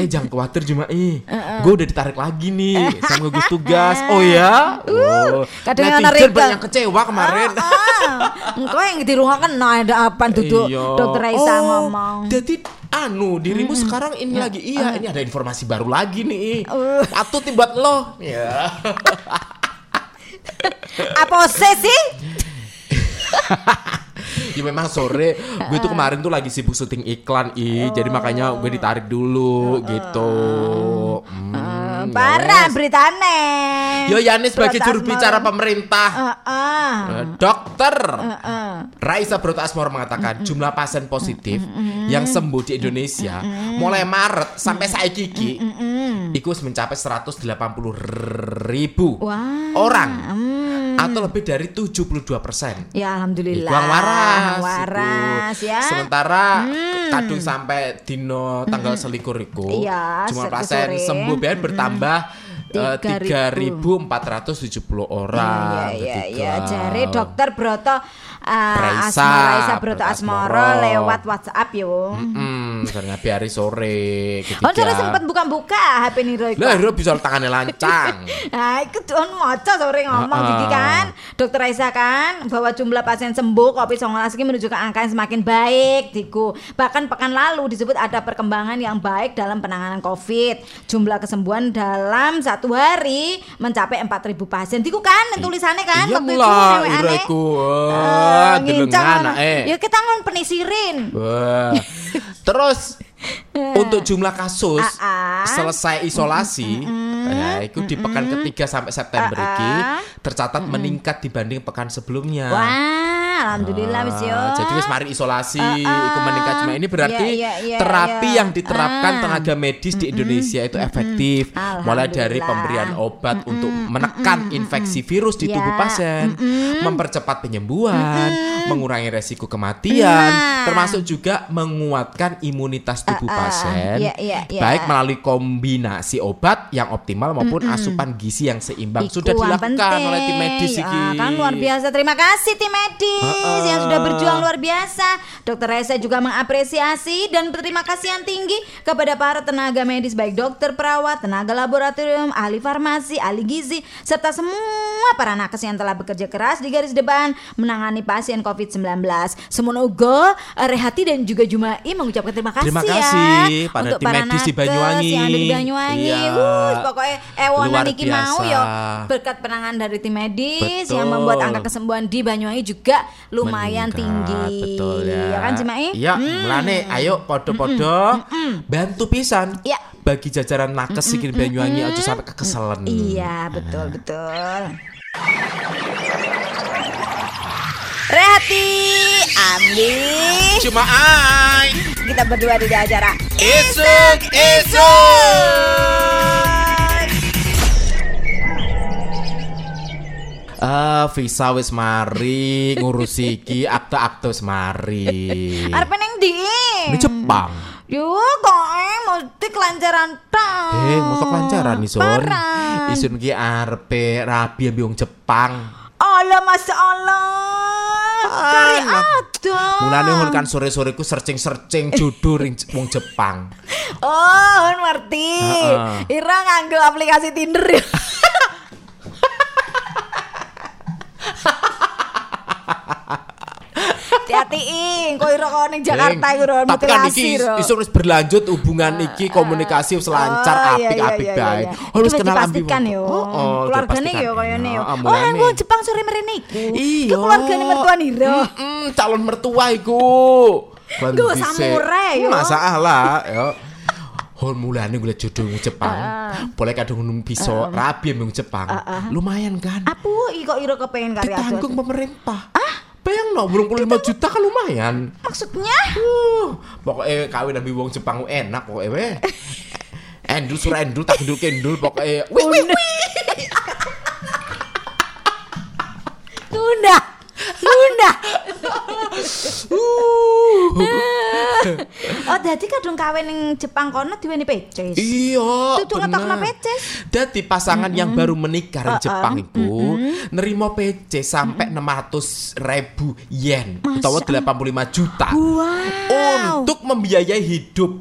Speaker 2: Eh, jangan khawatir cuma eh. Gue udah ditarik lagi nih sama gugus tugas. Oh ya. Oh.
Speaker 1: Eh. Uh, kadang
Speaker 2: Netizen
Speaker 1: ana Rika.
Speaker 2: banyak kecewa kemarin.
Speaker 1: Ah, engko yang dirungokno ada apa duduk
Speaker 2: Iya.
Speaker 1: dokter Raisa
Speaker 2: Oh,
Speaker 1: ngomong. Ya, mm.
Speaker 2: Jadi anu dirimu sekarang ini lagi iya ini ada informasi baru lagi nih.
Speaker 1: Eh.
Speaker 2: Patut nih buat lo. Ya.
Speaker 1: Apa sih sih?
Speaker 2: ya memang sore gue
Speaker 1: Uh-uh.
Speaker 2: tuh kemarin tuh lagi sibuk syuting iklan i. Jadi makanya
Speaker 1: Oh.
Speaker 2: gue ditarik dulu gitu.
Speaker 1: Eh,
Speaker 2: Hmm, ya
Speaker 1: Uh-uh. Parah
Speaker 2: wes.
Speaker 1: beritane. Ah,
Speaker 2: Yo Yanis sebagai
Speaker 1: Protas
Speaker 2: juru bicara
Speaker 1: Mor-
Speaker 2: pemerintah.
Speaker 1: Heeh.
Speaker 2: Eh, Dokter
Speaker 1: Heeh.
Speaker 2: Raisa Broto Asmoro mengatakan jumlah pasien positif yang sembuh di Indonesia mulai Maret sampai saiki iki iku wis mencapai 180 ribu
Speaker 1: Wah.
Speaker 2: orang
Speaker 1: Hmm.
Speaker 2: atau lebih dari 72 persen.
Speaker 1: Ya alhamdulillah.
Speaker 2: Iku waras,
Speaker 1: Yang waras,
Speaker 2: iku.
Speaker 1: ya. Mm.
Speaker 2: Sementara kadung sampai dino tanggal selikur iku
Speaker 1: Iya,
Speaker 2: jumlah
Speaker 1: sore-
Speaker 2: pasien
Speaker 1: sore.
Speaker 2: sembuh biar bertambah eh,
Speaker 1: 3.000.
Speaker 2: 3.470 orang.
Speaker 1: Iya, iya,
Speaker 2: ketika-
Speaker 1: jare dokter Broto uh,
Speaker 2: Raisa,
Speaker 1: Asmoro, Raisa Broto
Speaker 2: Broto
Speaker 1: Asmoro
Speaker 2: Asmoro.
Speaker 1: lewat WhatsApp yo.
Speaker 2: Hmm, karena hari sore.
Speaker 1: Oh, sore sempet buka-buka HP Niro iku.
Speaker 2: Lah, Ro bisa tangannya lancang.
Speaker 1: Nah, itu on maca sore ngomong
Speaker 2: Ah,
Speaker 1: gigi
Speaker 2: ah.
Speaker 1: kan. Dokter Raisa kan bahwa jumlah pasien sembuh COVID-19 ini menunjukkan angka yang semakin baik diku. Bahkan pekan lalu disebut ada perkembangan yang baik dalam penanganan COVID. Jumlah kesembuhan dalam satu hari mencapai 4.000 pasien. Diku kan yang tulisannya kan
Speaker 2: iya
Speaker 1: waktu itu
Speaker 2: mula,
Speaker 1: aneh-aneh.
Speaker 2: Ro iku.
Speaker 1: Eh,
Speaker 2: Wah, deleng
Speaker 1: ngincang
Speaker 2: anak
Speaker 1: ngono.
Speaker 2: eh.
Speaker 1: Ya kita ngon penisirin.
Speaker 2: Wah. Terus untuk jumlah kasus
Speaker 1: Ah, ah.
Speaker 2: selesai isolasi, ya, itu di pekan ketiga sampai September
Speaker 1: Ah,
Speaker 2: iki
Speaker 1: ah.
Speaker 2: tercatat meningkat dibanding pekan sebelumnya.
Speaker 1: Wah, alhamdulillah wis yo.
Speaker 2: Nah. Ah, Jadi wis mari isolasi
Speaker 1: ah.
Speaker 2: iku meningkat cuma ini berarti
Speaker 1: Iya, iya, iya,
Speaker 2: terapi
Speaker 1: iya.
Speaker 2: yang diterapkan
Speaker 1: Ah.
Speaker 2: tenaga medis di Indonesia itu efektif mulai dari
Speaker 1: Alhamdulillah.
Speaker 2: pemberian obat untuk menekan infeksi virus di
Speaker 1: Ya.
Speaker 2: tubuh pasien, mempercepat penyembuhan, mengurangi resiko kematian,
Speaker 1: Nah.
Speaker 2: termasuk juga menguatkan imunitas tubuh
Speaker 1: Ah, ah.
Speaker 2: pasien
Speaker 1: Iya, iya, iya.
Speaker 2: baik melalui kombinasi obat yang optimal maupun asupan gizi yang seimbang
Speaker 1: Iku
Speaker 2: sudah
Speaker 1: yang
Speaker 2: dilakukan
Speaker 1: penting.
Speaker 2: oleh tim medis
Speaker 1: Ya,
Speaker 2: iki.
Speaker 1: kan luar biasa. Terima kasih tim medis
Speaker 2: Heeh.
Speaker 1: yang sudah berjuang luar biasa. Dokter Reza juga mengapresiasi dan berterima kasih yang tinggi kepada para tenaga medis baik dokter, perawat, tenaga laboratorium, ahli farmasi, ahli gizi serta semua para nakes yang telah bekerja keras di garis depan menangani pasien COVID-19. Semono uga eh, Rehati dan juga Jumai mengucapkan terima kasih,
Speaker 2: Terima
Speaker 1: ya
Speaker 2: kasih pada
Speaker 1: untuk
Speaker 2: tim
Speaker 1: para
Speaker 2: medis di
Speaker 1: nakes
Speaker 2: Banyuwangi.
Speaker 1: yang ada di Banyuwangi.
Speaker 2: Iya.
Speaker 1: Wuh, pokoknya ewonan
Speaker 2: Luar
Speaker 1: iki mau
Speaker 2: biasa.
Speaker 1: yo berkat penanganan dari tim medis
Speaker 2: Betul.
Speaker 1: yang membuat angka kesembuhan di Banyuwangi juga lumayan
Speaker 2: Meningkat,
Speaker 1: tinggi.
Speaker 2: betul ya,
Speaker 1: kan Cimae?
Speaker 2: iya mulane ayo podo-podo
Speaker 1: Hmm,
Speaker 2: bantu pisan
Speaker 1: Iya.
Speaker 2: bagi jajaran nakes
Speaker 1: Hmm,
Speaker 2: sikil Banyuwangi aja sampai kekeselan
Speaker 1: Iya, betul betul. Rehati, Amli,
Speaker 2: cuma ai
Speaker 1: kita berdua di acara
Speaker 2: esok esok Eh, visa wis mari, ngurus iki, akte-akte wis mari.
Speaker 1: Arepe neng ndi?
Speaker 2: Ini Jepang.
Speaker 1: Yo kok eh mesti kelancaran tak.
Speaker 2: Eh, mosok lancaran Isun.
Speaker 1: Parah.
Speaker 2: Isun ki arepe rabi ambek wong Jepang.
Speaker 1: Allah Masya Allah. Kari
Speaker 2: Alah.
Speaker 1: ada.
Speaker 2: Mulane hun kan sore-sore ku
Speaker 1: Eh.
Speaker 2: searching-searching judul ring wong Jepang.
Speaker 1: Oh, hun ngerti.
Speaker 2: Heeh.
Speaker 1: Ira nganggo aplikasi Tinder. Hati-hati ing, kok Ira kok ning Jakarta
Speaker 2: Deng,
Speaker 1: iku Ron
Speaker 2: Tapi kan
Speaker 1: mutilasi
Speaker 2: iki
Speaker 1: Ron.
Speaker 2: isun wis berlanjut hubungan iki komunikasi wis
Speaker 1: Oh,
Speaker 2: lancar
Speaker 1: Ah. iya,
Speaker 2: apik-apik
Speaker 1: iya, iya,
Speaker 2: bae.
Speaker 1: iya.
Speaker 2: Oh, wis
Speaker 1: Itu
Speaker 2: kenal ambi.
Speaker 1: dipastikan yo.
Speaker 2: Heeh,
Speaker 1: Keluargane
Speaker 2: oh, dipastikan.
Speaker 1: yo kayane yo.
Speaker 2: Heeh,
Speaker 1: Oh,
Speaker 2: mulane.
Speaker 1: nang wong Jepang sore merene iku.
Speaker 2: Iya.
Speaker 1: Keluargane mertuane Ira.
Speaker 2: Mm-mm, calon mertua iku. Ban
Speaker 1: Nggo
Speaker 2: dhisik.
Speaker 1: samurai, yo.
Speaker 2: Masalah yo. Hon mulane golek jodoh wong Jepang. Boleh kadung nung bisa rabi ambek wong Jepang. Lumayan kan.
Speaker 1: Apu iki kok Ira kepengen kari
Speaker 2: Ditanggung pemerintah. Ah, bayang no, 85 juta kan lumayan.
Speaker 1: Maksudnya?
Speaker 2: Uh, pokoknya kawin nabi wong Jepang enak pokoknya weh. Endul suruh endul tak endul kendul pokoknya. Wih, wih, wih.
Speaker 1: Tunda. Tunda. oh, dadi kadung kawin ning Jepang kono diweni pecis.
Speaker 2: Iya,
Speaker 1: Tutuk ngetokno peces.
Speaker 2: Dadi pasangan yang baru menikah di Jepang iku nerima PC sampai 600 ribu yen utawa 85 juta
Speaker 1: Wow.
Speaker 2: untuk membiayai hidup.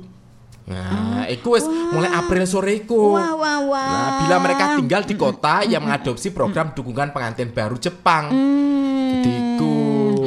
Speaker 2: Nah,
Speaker 1: Mm.
Speaker 2: iku wis mulai April sore iku.
Speaker 1: Wah, wah, wah.
Speaker 2: Nah, bila mereka tinggal di kota yang mengadopsi program dukungan pengantin baru Jepang.
Speaker 1: Mm.
Speaker 2: Jadi iku.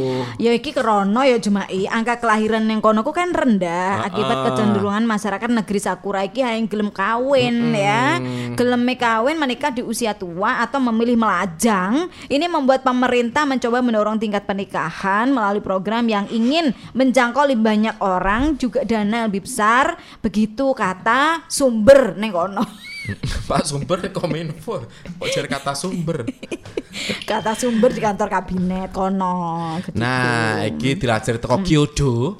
Speaker 1: Ya iki kerono ya jumai angka kelahiran yang kono ku kan rendah akibat
Speaker 2: Heeh.
Speaker 1: kecenderungan masyarakat negeri Sakura iki hayang gelem kawin ya. Geleme kawin menikah di usia tua atau memilih melajang. Ini membuat pemerintah mencoba mendorong tingkat pernikahan melalui program yang ingin menjangkau lebih banyak orang juga dana yang lebih besar. Begitu kata sumber neng kono.
Speaker 2: Pak sumber kominfo. Kok jadi kata sumber?
Speaker 1: kata sumber di kantor kabinet kono. Gitu.
Speaker 2: Nah, iki dilansir teko Kyoto.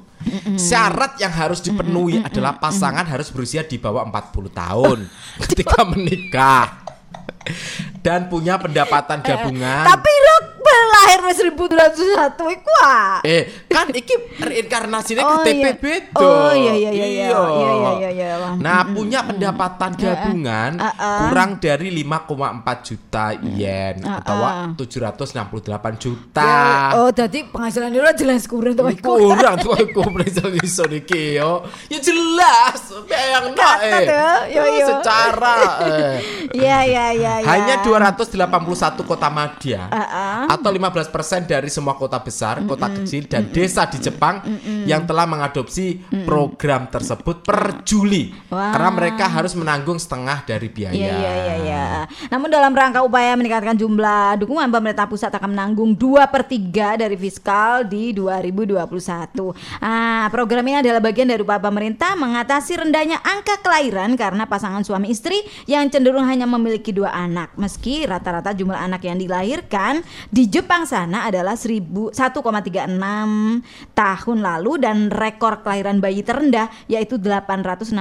Speaker 2: Syarat yang harus dipenuhi adalah pasangan harus berusia di bawah 40 tahun ketika menikah. Dan punya
Speaker 1: Eh,
Speaker 2: pendapatan gabungan.
Speaker 1: Tapi lu lahir 1701 iku ah.
Speaker 2: eh, kan iki reinkarnasinya
Speaker 1: Oh,
Speaker 2: KTP
Speaker 1: iya.
Speaker 2: beda.
Speaker 1: Oh, iya, iya, iya, iya. Iya, iya, iya, iya.
Speaker 2: Nah, punya
Speaker 1: Eh,
Speaker 2: pendapatan gabungan
Speaker 1: Ah,
Speaker 2: kurang dari 5,4 juta yen atau 768 juta.
Speaker 1: Ah, Oh, dadi penghasilan lu jelas kurang tuh iku.
Speaker 2: kurang tuh aku presentasi Sony Keo ya jelas bayang no
Speaker 1: Kata
Speaker 2: eh
Speaker 1: tuh, yo,
Speaker 2: Oh,
Speaker 1: yo.
Speaker 2: secara eh.
Speaker 1: Iya, iya, iya, iya.
Speaker 2: hanya 281 kota madya
Speaker 1: Uh-uh.
Speaker 2: atau 15% dari semua kota besar kota kecil dan desa di Jepang yang telah mengadopsi program tersebut per Juli
Speaker 1: Wah.
Speaker 2: karena mereka harus menanggung setengah dari biaya
Speaker 1: Iya, iya, iya, iya. Namun dalam rangka upaya meningkatkan jumlah dukungan pemerintah pusat akan menanggung 2 per 3 dari fiskal di 2021. Ah, program ini adalah bagian dari upaya pemerintah mengatasi rendahnya angka kelahiran karena pasangan suami istri yang cenderung hanya memiliki dua anak. Meski rata-rata jumlah anak yang dilahirkan di Jepang sana adalah 1000 1,36 tahun lalu dan rekor kelahiran bayi terendah yaitu 865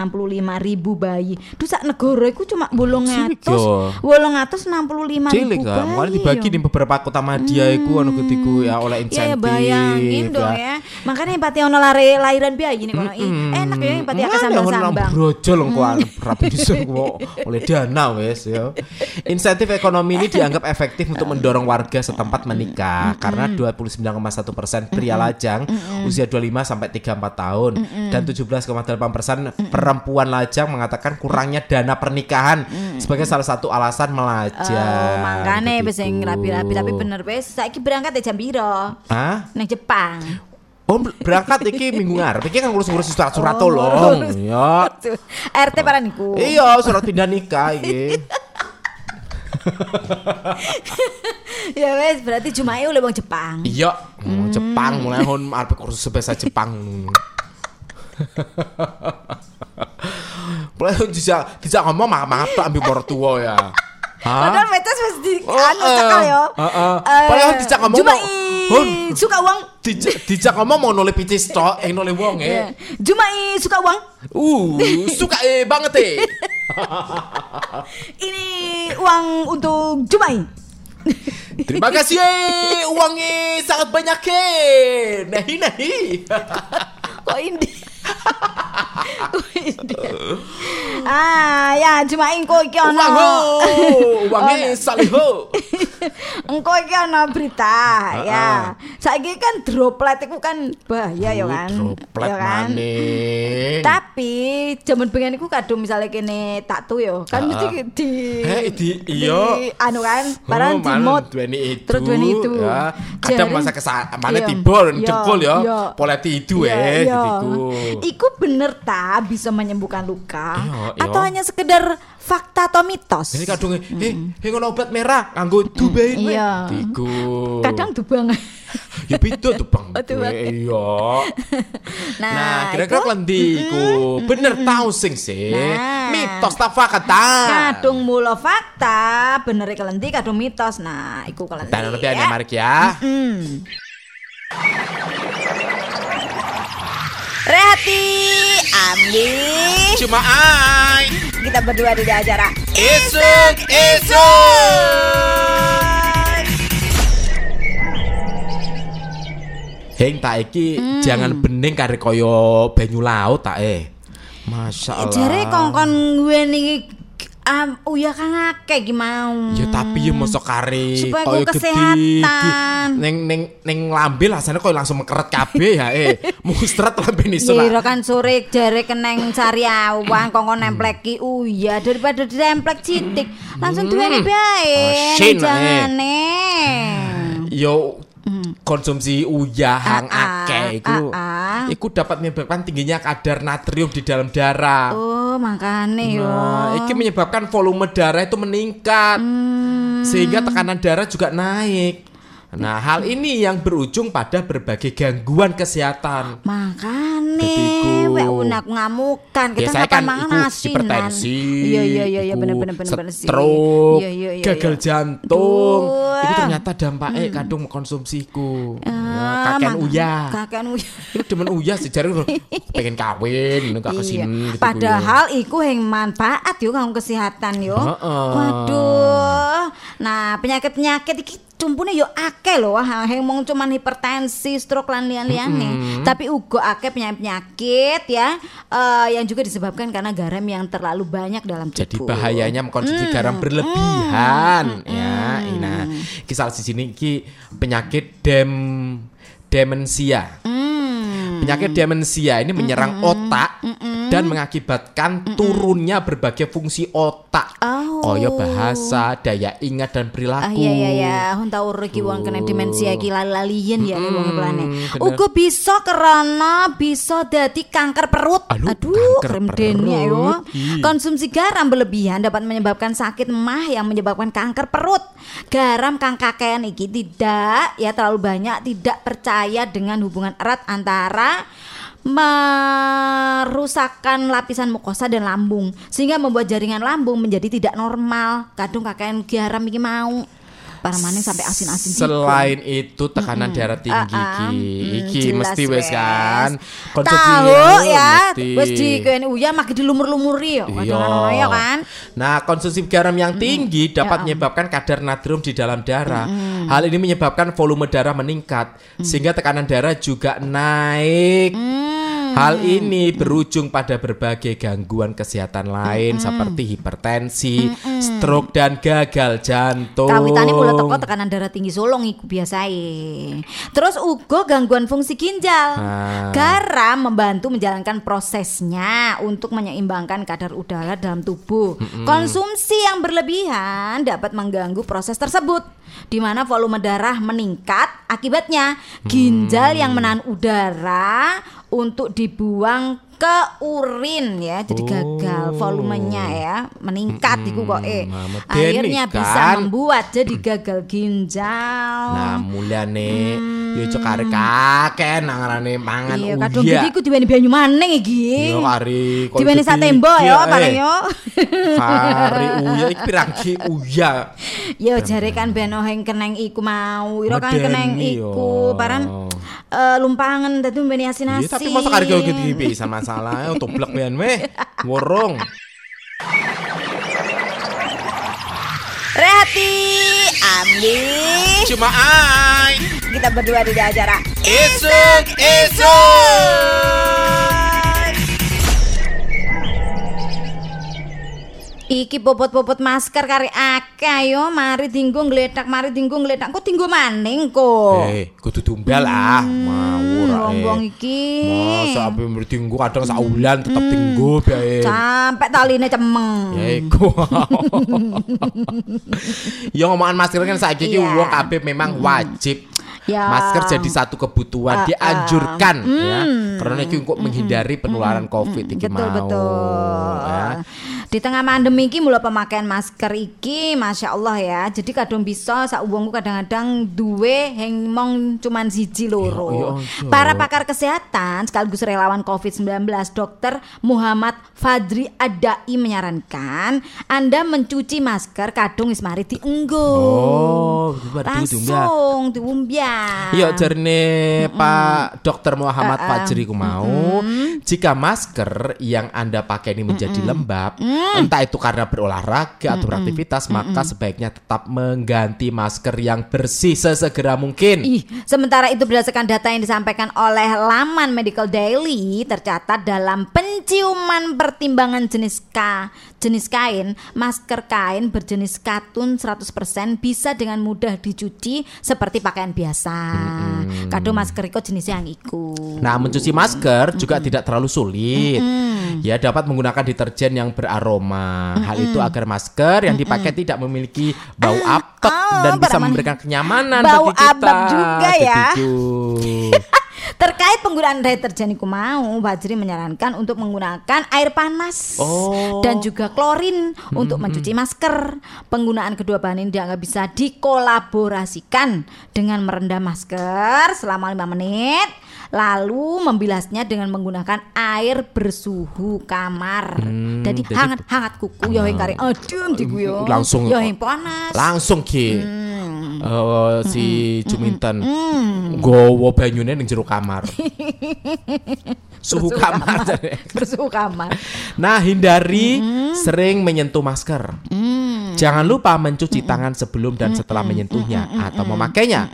Speaker 1: ribu bayi. Duh sak negara iku cuma 800
Speaker 2: Cilik
Speaker 1: 865
Speaker 2: Cilik
Speaker 1: ribu
Speaker 2: lah, makanya
Speaker 1: bayi.
Speaker 2: dibagi di beberapa kota madya iku anu ketiku ya oleh
Speaker 1: Ya, ya
Speaker 2: insentif.
Speaker 1: bayangin dong ya. Makanya empati ono lare lahiran bayi nih kono. Ih, Enak ya
Speaker 2: Hmm,
Speaker 1: empati akan sambang-sambang.
Speaker 2: Brojo lho
Speaker 1: Hmm.
Speaker 2: kok arep rapi disuruh kok oleh dana wes ya. Insentif ekonomi ini dianggap efektif untuk mendorong warga setempat menikah karena 29,1% pria lajang usia 25 sampai 34 tahun dan 17,8% perempuan lajang mengatakan kurangnya dana pernikahan sebagai salah satu alasan melajang.
Speaker 1: Oh, makanya wis sing
Speaker 2: Begitu.
Speaker 1: rapi-rapi tapi bener wis saiki berangkat ya jam piro?
Speaker 2: Hah?
Speaker 1: Nang Jepang.
Speaker 2: Oh berangkat iki minggu ngarep iki kan ngurus-ngurus surat-surat
Speaker 1: Oh,
Speaker 2: tolong
Speaker 1: ngurus.
Speaker 2: ya.
Speaker 1: RT paraniku.
Speaker 2: Iya, surat pindah nikah iki.
Speaker 1: ya wes berarti Jumae oleh wong Jepang.
Speaker 2: Iya, mau Jepang mulai hon arep kursus bahasa Jepang. Mulai hon bisa bisa ngomong maaf maaf tuh ambil orang tua ya.
Speaker 1: Padahal
Speaker 2: Hah?
Speaker 1: metes wis di
Speaker 2: Oh,
Speaker 1: anu
Speaker 2: eh,
Speaker 1: cekal yo.
Speaker 2: eh, eh.
Speaker 1: Eh,
Speaker 2: Padahal dijak ngomong
Speaker 1: Jumae.
Speaker 2: mau- Hun.
Speaker 1: Suka uang.
Speaker 2: Dijak dijak ngomong mau nulis picis tok, eh nulis wong
Speaker 1: Iya.
Speaker 2: eh.
Speaker 1: Jumae suka uang.
Speaker 2: Uh, suka eh banget eh.
Speaker 1: Ini uang untuk Jumae.
Speaker 2: Terima kasih eh. uangnya sangat banyak eh. Nahi nahi.
Speaker 1: Kok India? Kok India? ah, ya cuma engko iki ono.
Speaker 2: Uang oh, ho,
Speaker 1: Oh,
Speaker 2: uangnya salih oh. ho.
Speaker 1: Engko iki ono berita
Speaker 2: Ah,
Speaker 1: ya. Saiki kan droplet iku kan bahaya ya kan.
Speaker 2: Droplet
Speaker 1: Ya kan?
Speaker 2: maning.
Speaker 1: Tapi jaman bengen iku kadung misalnya kene tatu yo, kan mesti di
Speaker 2: Eh, di- iya.
Speaker 1: anu kan, barang
Speaker 2: Oh,
Speaker 1: di
Speaker 2: malah
Speaker 1: mod.
Speaker 2: duweni itu.
Speaker 1: Terus duweni itu.
Speaker 2: Ya. Kadang
Speaker 1: Jadi-
Speaker 2: masa kesa mana
Speaker 1: Iya.
Speaker 2: tibol
Speaker 1: Iya,
Speaker 2: cengkul ya.
Speaker 1: iya.
Speaker 2: Poleti itu
Speaker 1: Iya,
Speaker 2: eh
Speaker 1: iya.
Speaker 2: gitu. iku.
Speaker 1: Iku bener ta bisa menyembuhkan luka
Speaker 2: Iya, iya.
Speaker 1: atau hanya sekedar fakta atau mitos?
Speaker 2: Jadi kadung eh eh ngono obat merah kanggo dubai
Speaker 1: Mm, iya.
Speaker 2: Tiku.
Speaker 1: Kadang dubang.
Speaker 2: ya pitu tuh bang.
Speaker 1: Oh, tuh, Bang.
Speaker 2: Iya.
Speaker 1: Nah,
Speaker 2: Nah, kira-kira
Speaker 1: itu-
Speaker 2: klendi iku bener tau sing sih.
Speaker 1: Nah.
Speaker 2: Mitos ta fakta?
Speaker 1: Kadung mula fakta, bener kelenti kadung mitos. Nah, iku kelenti.
Speaker 2: Dan nanti ada mari ya.
Speaker 1: Hmm. Rehati, Amli,
Speaker 2: Cuma ai.
Speaker 1: kita berdua di acara
Speaker 2: Esok esok. Heng tak iki
Speaker 1: Mm.
Speaker 2: jangan bening kare koyo banyu laut tak eh. Masya Allah.
Speaker 1: Eh, Jare kongkon gue nih um, uya kang akeh ki mau.
Speaker 2: Ya tapi ya mosok
Speaker 1: Hmm.
Speaker 2: kare
Speaker 1: Supaya
Speaker 2: koyo
Speaker 1: ku
Speaker 2: gede.
Speaker 1: kesehatan.
Speaker 2: Ning ning ning lambe rasane koyo langsung mekeret kabeh ya eh. Mustret lambe nisu
Speaker 1: Ya ira
Speaker 2: lah.
Speaker 1: kan sore jare keneng sari awang kongkon nemplek ki uya daripada ditemplek citik
Speaker 2: Hmm.
Speaker 1: langsung duweni
Speaker 2: Ah,
Speaker 1: bae.
Speaker 2: Asin,
Speaker 1: Jane.
Speaker 2: Yo konsumsi uyah
Speaker 1: Hmm. Ah, ah,
Speaker 2: akeh iku
Speaker 1: ah, ah.
Speaker 2: iku dapat menyebabkan tingginya kadar natrium di dalam darah.
Speaker 1: Oh, makane oh. yo.
Speaker 2: Nah, ini menyebabkan volume darah itu meningkat
Speaker 1: Hmm.
Speaker 2: sehingga tekanan darah juga naik. Nah, hal ini yang berujung pada berbagai gangguan kesehatan.
Speaker 1: Makane
Speaker 2: Ketiku.
Speaker 1: wek unak ngamukan kita
Speaker 2: Biasanya
Speaker 1: kapan
Speaker 2: kan
Speaker 1: mangan
Speaker 2: iku
Speaker 1: asinan.
Speaker 2: hipertensi,
Speaker 1: Iya iya iya iya
Speaker 2: iku
Speaker 1: bener bener bener bener sih.
Speaker 2: stroke,
Speaker 1: Iya, iya, iya,
Speaker 2: gagal
Speaker 1: iya.
Speaker 2: jantung.
Speaker 1: Aduh.
Speaker 2: Itu ternyata dampaknya kadung mengkonsumsiku.
Speaker 1: Ah,
Speaker 2: Ya, kakean
Speaker 1: mak-
Speaker 2: uyah.
Speaker 1: Kakean uyah.
Speaker 2: Itu demen uyah sejarah pengen kawin, gak
Speaker 1: Iya.
Speaker 2: kesini. gitu,
Speaker 1: Padahal iku yang manfaat yo kanggo kesehatan yo.
Speaker 2: Heeh.
Speaker 1: Waduh. Nah, penyakit-penyakit iki cumpune yo akeh lho. Wah, yang mung cuman hipertensi, stroke lan liyan-liyane. Tapi uga akeh penyakit-penyakit ya eh, yang juga disebabkan karena garam yang terlalu banyak dalam tubuh.
Speaker 2: Jadi bahayanya
Speaker 1: Hmm.
Speaker 2: mengkonsumsi garam berlebihan ya. Nah, kisah di sini ki penyakit dem demensia.
Speaker 1: Hmm.
Speaker 2: Penyakit demensia ini menyerang otak dan mengakibatkan turunnya berbagai fungsi otak.
Speaker 1: Hmm, Oh.
Speaker 2: Koyo bahasa, daya ingat
Speaker 1: Ah
Speaker 2: dan perilaku.
Speaker 1: iya iya ya, hun tau urut ki wong kena demensia iki lali-lalian ya wong plane.
Speaker 2: Hmm, bener.
Speaker 1: Uga bisa karena bisa dadi kanker perut.
Speaker 2: Aduh, kanker
Speaker 1: remdeni
Speaker 2: perut.
Speaker 1: ayo.
Speaker 2: Ih.
Speaker 1: Konsumsi garam berlebihan dapat menyebabkan sakit emah yang menyebabkan kanker perut. Garam kang kakean iki tidak ya terlalu banyak tidak percaya dengan hubungan erat antara merusakkan lapisan mukosa dan lambung sehingga membuat jaringan lambung menjadi tidak normal. Kadung kakean garam iki mau. Para maning sampai asin-asin gitu.
Speaker 2: Selain itu tekanan darah tinggi
Speaker 1: Ah, ah.
Speaker 2: ki.
Speaker 1: Mm,
Speaker 2: Iki
Speaker 1: jelas
Speaker 2: mesti
Speaker 1: wes.
Speaker 2: wes kan.
Speaker 1: Tahu
Speaker 2: yo,
Speaker 1: ya,
Speaker 2: mesti. Iya.
Speaker 1: wis di kene uya makin ya, dilumur-lumuri yo. Kadang-kadang ya kan. Hmm, ya
Speaker 2: Nah, konsumsi garam yang tinggi dapat menyebabkan kadar natrium di dalam darah.
Speaker 1: hmm.
Speaker 2: Hal ini menyebabkan volume darah meningkat sehingga tekanan darah juga naik.
Speaker 1: Hmm.
Speaker 2: Hal ini berujung pada berbagai gangguan kesehatan lain
Speaker 1: Hmm.
Speaker 2: seperti hipertensi, stroke dan gagal jantung.
Speaker 1: Kawitane mula teko tekanan darah tinggi solong iku biasae. Terus uga gangguan fungsi ginjal.
Speaker 2: Ah.
Speaker 1: Garam membantu menjalankan prosesnya untuk menyeimbangkan kadar udara dalam tubuh. Konsumsi yang berlebihan dapat mengganggu proses tersebut, di mana volume darah meningkat. Akibatnya, ginjal
Speaker 2: Hmm.
Speaker 1: yang menahan udara untuk dibuang ke urin ya, jadi gagal
Speaker 2: Oh.
Speaker 1: volumenya ya meningkat iku kok eh.
Speaker 2: nah, medeni
Speaker 1: Akhirnya bisa
Speaker 2: kan.
Speaker 1: membuat jadi gagal ginjal.
Speaker 2: Nah, mulyane yo cek arek kakek nang ngarane pangan
Speaker 1: Hmm. Iya,
Speaker 2: uyah.
Speaker 1: kadung iki kudu diweni banyu maning iki.
Speaker 2: Yo kari koyo
Speaker 1: Diweni
Speaker 2: gedhi.
Speaker 1: sate mbok
Speaker 2: Iya,
Speaker 1: ya,
Speaker 2: eh.
Speaker 1: bareng yo.
Speaker 2: Kari uya iki pirang ki uya.
Speaker 1: Yo jare kan ben oheng keneng iku mau, ira kan
Speaker 2: Medeni
Speaker 1: keneng
Speaker 2: yo.
Speaker 1: iku paran eh, lumpangan dadi mbeni asin-asin.
Speaker 2: Iya, tapi masa kari koyo gedhi pisan masalah untuk blek pian weh. Ngorong.
Speaker 1: Rehati, Ramli
Speaker 2: Cuma ai
Speaker 1: Kita berdua di acara
Speaker 2: Isuk Isuk
Speaker 1: Iki bobot-bobot masker kari akeh yo mari dinggo gledak mari dinggo gledak kok dinggo maning kok.
Speaker 2: Eh, kudu tumbal ah Mau
Speaker 1: Oh. Hmm,
Speaker 2: ra
Speaker 1: Wong-wong
Speaker 2: eh.
Speaker 1: iki. Hmm.
Speaker 2: Masa ape tinggu kadang saulan tetep tinggu bae
Speaker 1: Sampai taline cemeng.
Speaker 2: eh. Ya iku. ya ngomongan masker kan saiki iki
Speaker 1: Iya.
Speaker 2: wong kabeh memang wajib
Speaker 1: Ya.
Speaker 2: Masker jadi satu kebutuhan dianjurkan ya. Karena iki untuk menghindari penularan Covid iki
Speaker 1: Hmm. betul
Speaker 2: mau.
Speaker 1: betul.
Speaker 2: Ya.
Speaker 1: Di tengah pandemi iki mula pemakaian masker iki, masya Allah ya. Jadi kadang bisa sak uangku kadang-kadang duwe hengmong cuman siji
Speaker 2: Ya,
Speaker 1: loro.
Speaker 2: ya, ya.
Speaker 1: Para pakar kesehatan sekaligus relawan COVID-19 Dr. Muhammad Fadri Adai menyarankan Anda mencuci masker kadung wis mari dienggo.
Speaker 2: Oh, itu berarti diunggah.
Speaker 1: langsung diumbyah.
Speaker 2: Iya jarine Pak Dr. Muhammad Fajri ku mau jika masker yang Anda pakai ini menjadi lembab
Speaker 1: Mm.
Speaker 2: entah itu karena berolahraga atau beraktivitas maka sebaiknya tetap mengganti masker yang bersih sesegera mungkin.
Speaker 1: Ih, sementara itu berdasarkan data yang disampaikan oleh laman Medical Daily tercatat dalam penciuman pertimbangan jenis ka, jenis kain, masker kain berjenis katun 100% bisa dengan mudah dicuci seperti pakaian biasa. Kadang masker iko jenis yang iku.
Speaker 2: Nah, mencuci masker juga tidak terlalu sulit. Ya, dapat menggunakan deterjen yang beraroma. Hal itu agar masker yang dipakai tidak memiliki bau apek
Speaker 1: ah,
Speaker 2: dan bisa
Speaker 1: barang-
Speaker 2: memberikan kenyamanan
Speaker 1: Bau
Speaker 2: bagi kita. gitu.
Speaker 1: apek juga ya.
Speaker 2: Begitu.
Speaker 1: Terkait penggunaan deterjen iku mau, Bajri menyarankan untuk menggunakan air panas
Speaker 2: Oh. Hmm,
Speaker 1: dan juga klorin untuk mencuci masker. Penggunaan kedua bahan ini dianggap bisa dikolaborasikan dengan merendam masker selama 5 menit, lalu membilasnya dengan menggunakan air bersuhu kamar.
Speaker 2: Hmm,
Speaker 1: jadi
Speaker 2: jadi- Ah.
Speaker 1: hangat-hangat kuku yo yang kare adem di ku yo.
Speaker 2: Langsung-
Speaker 1: yo yang panas.
Speaker 2: Langsung ki. Eh, si Juminten gowo banyune ning jero kamar. Suhu kamar.
Speaker 1: bersuhu kamar.
Speaker 2: Nah, hindari sering menyentuh masker. Jangan lupa mencuci tangan sebelum dan setelah menyentuhnya atau memakainya.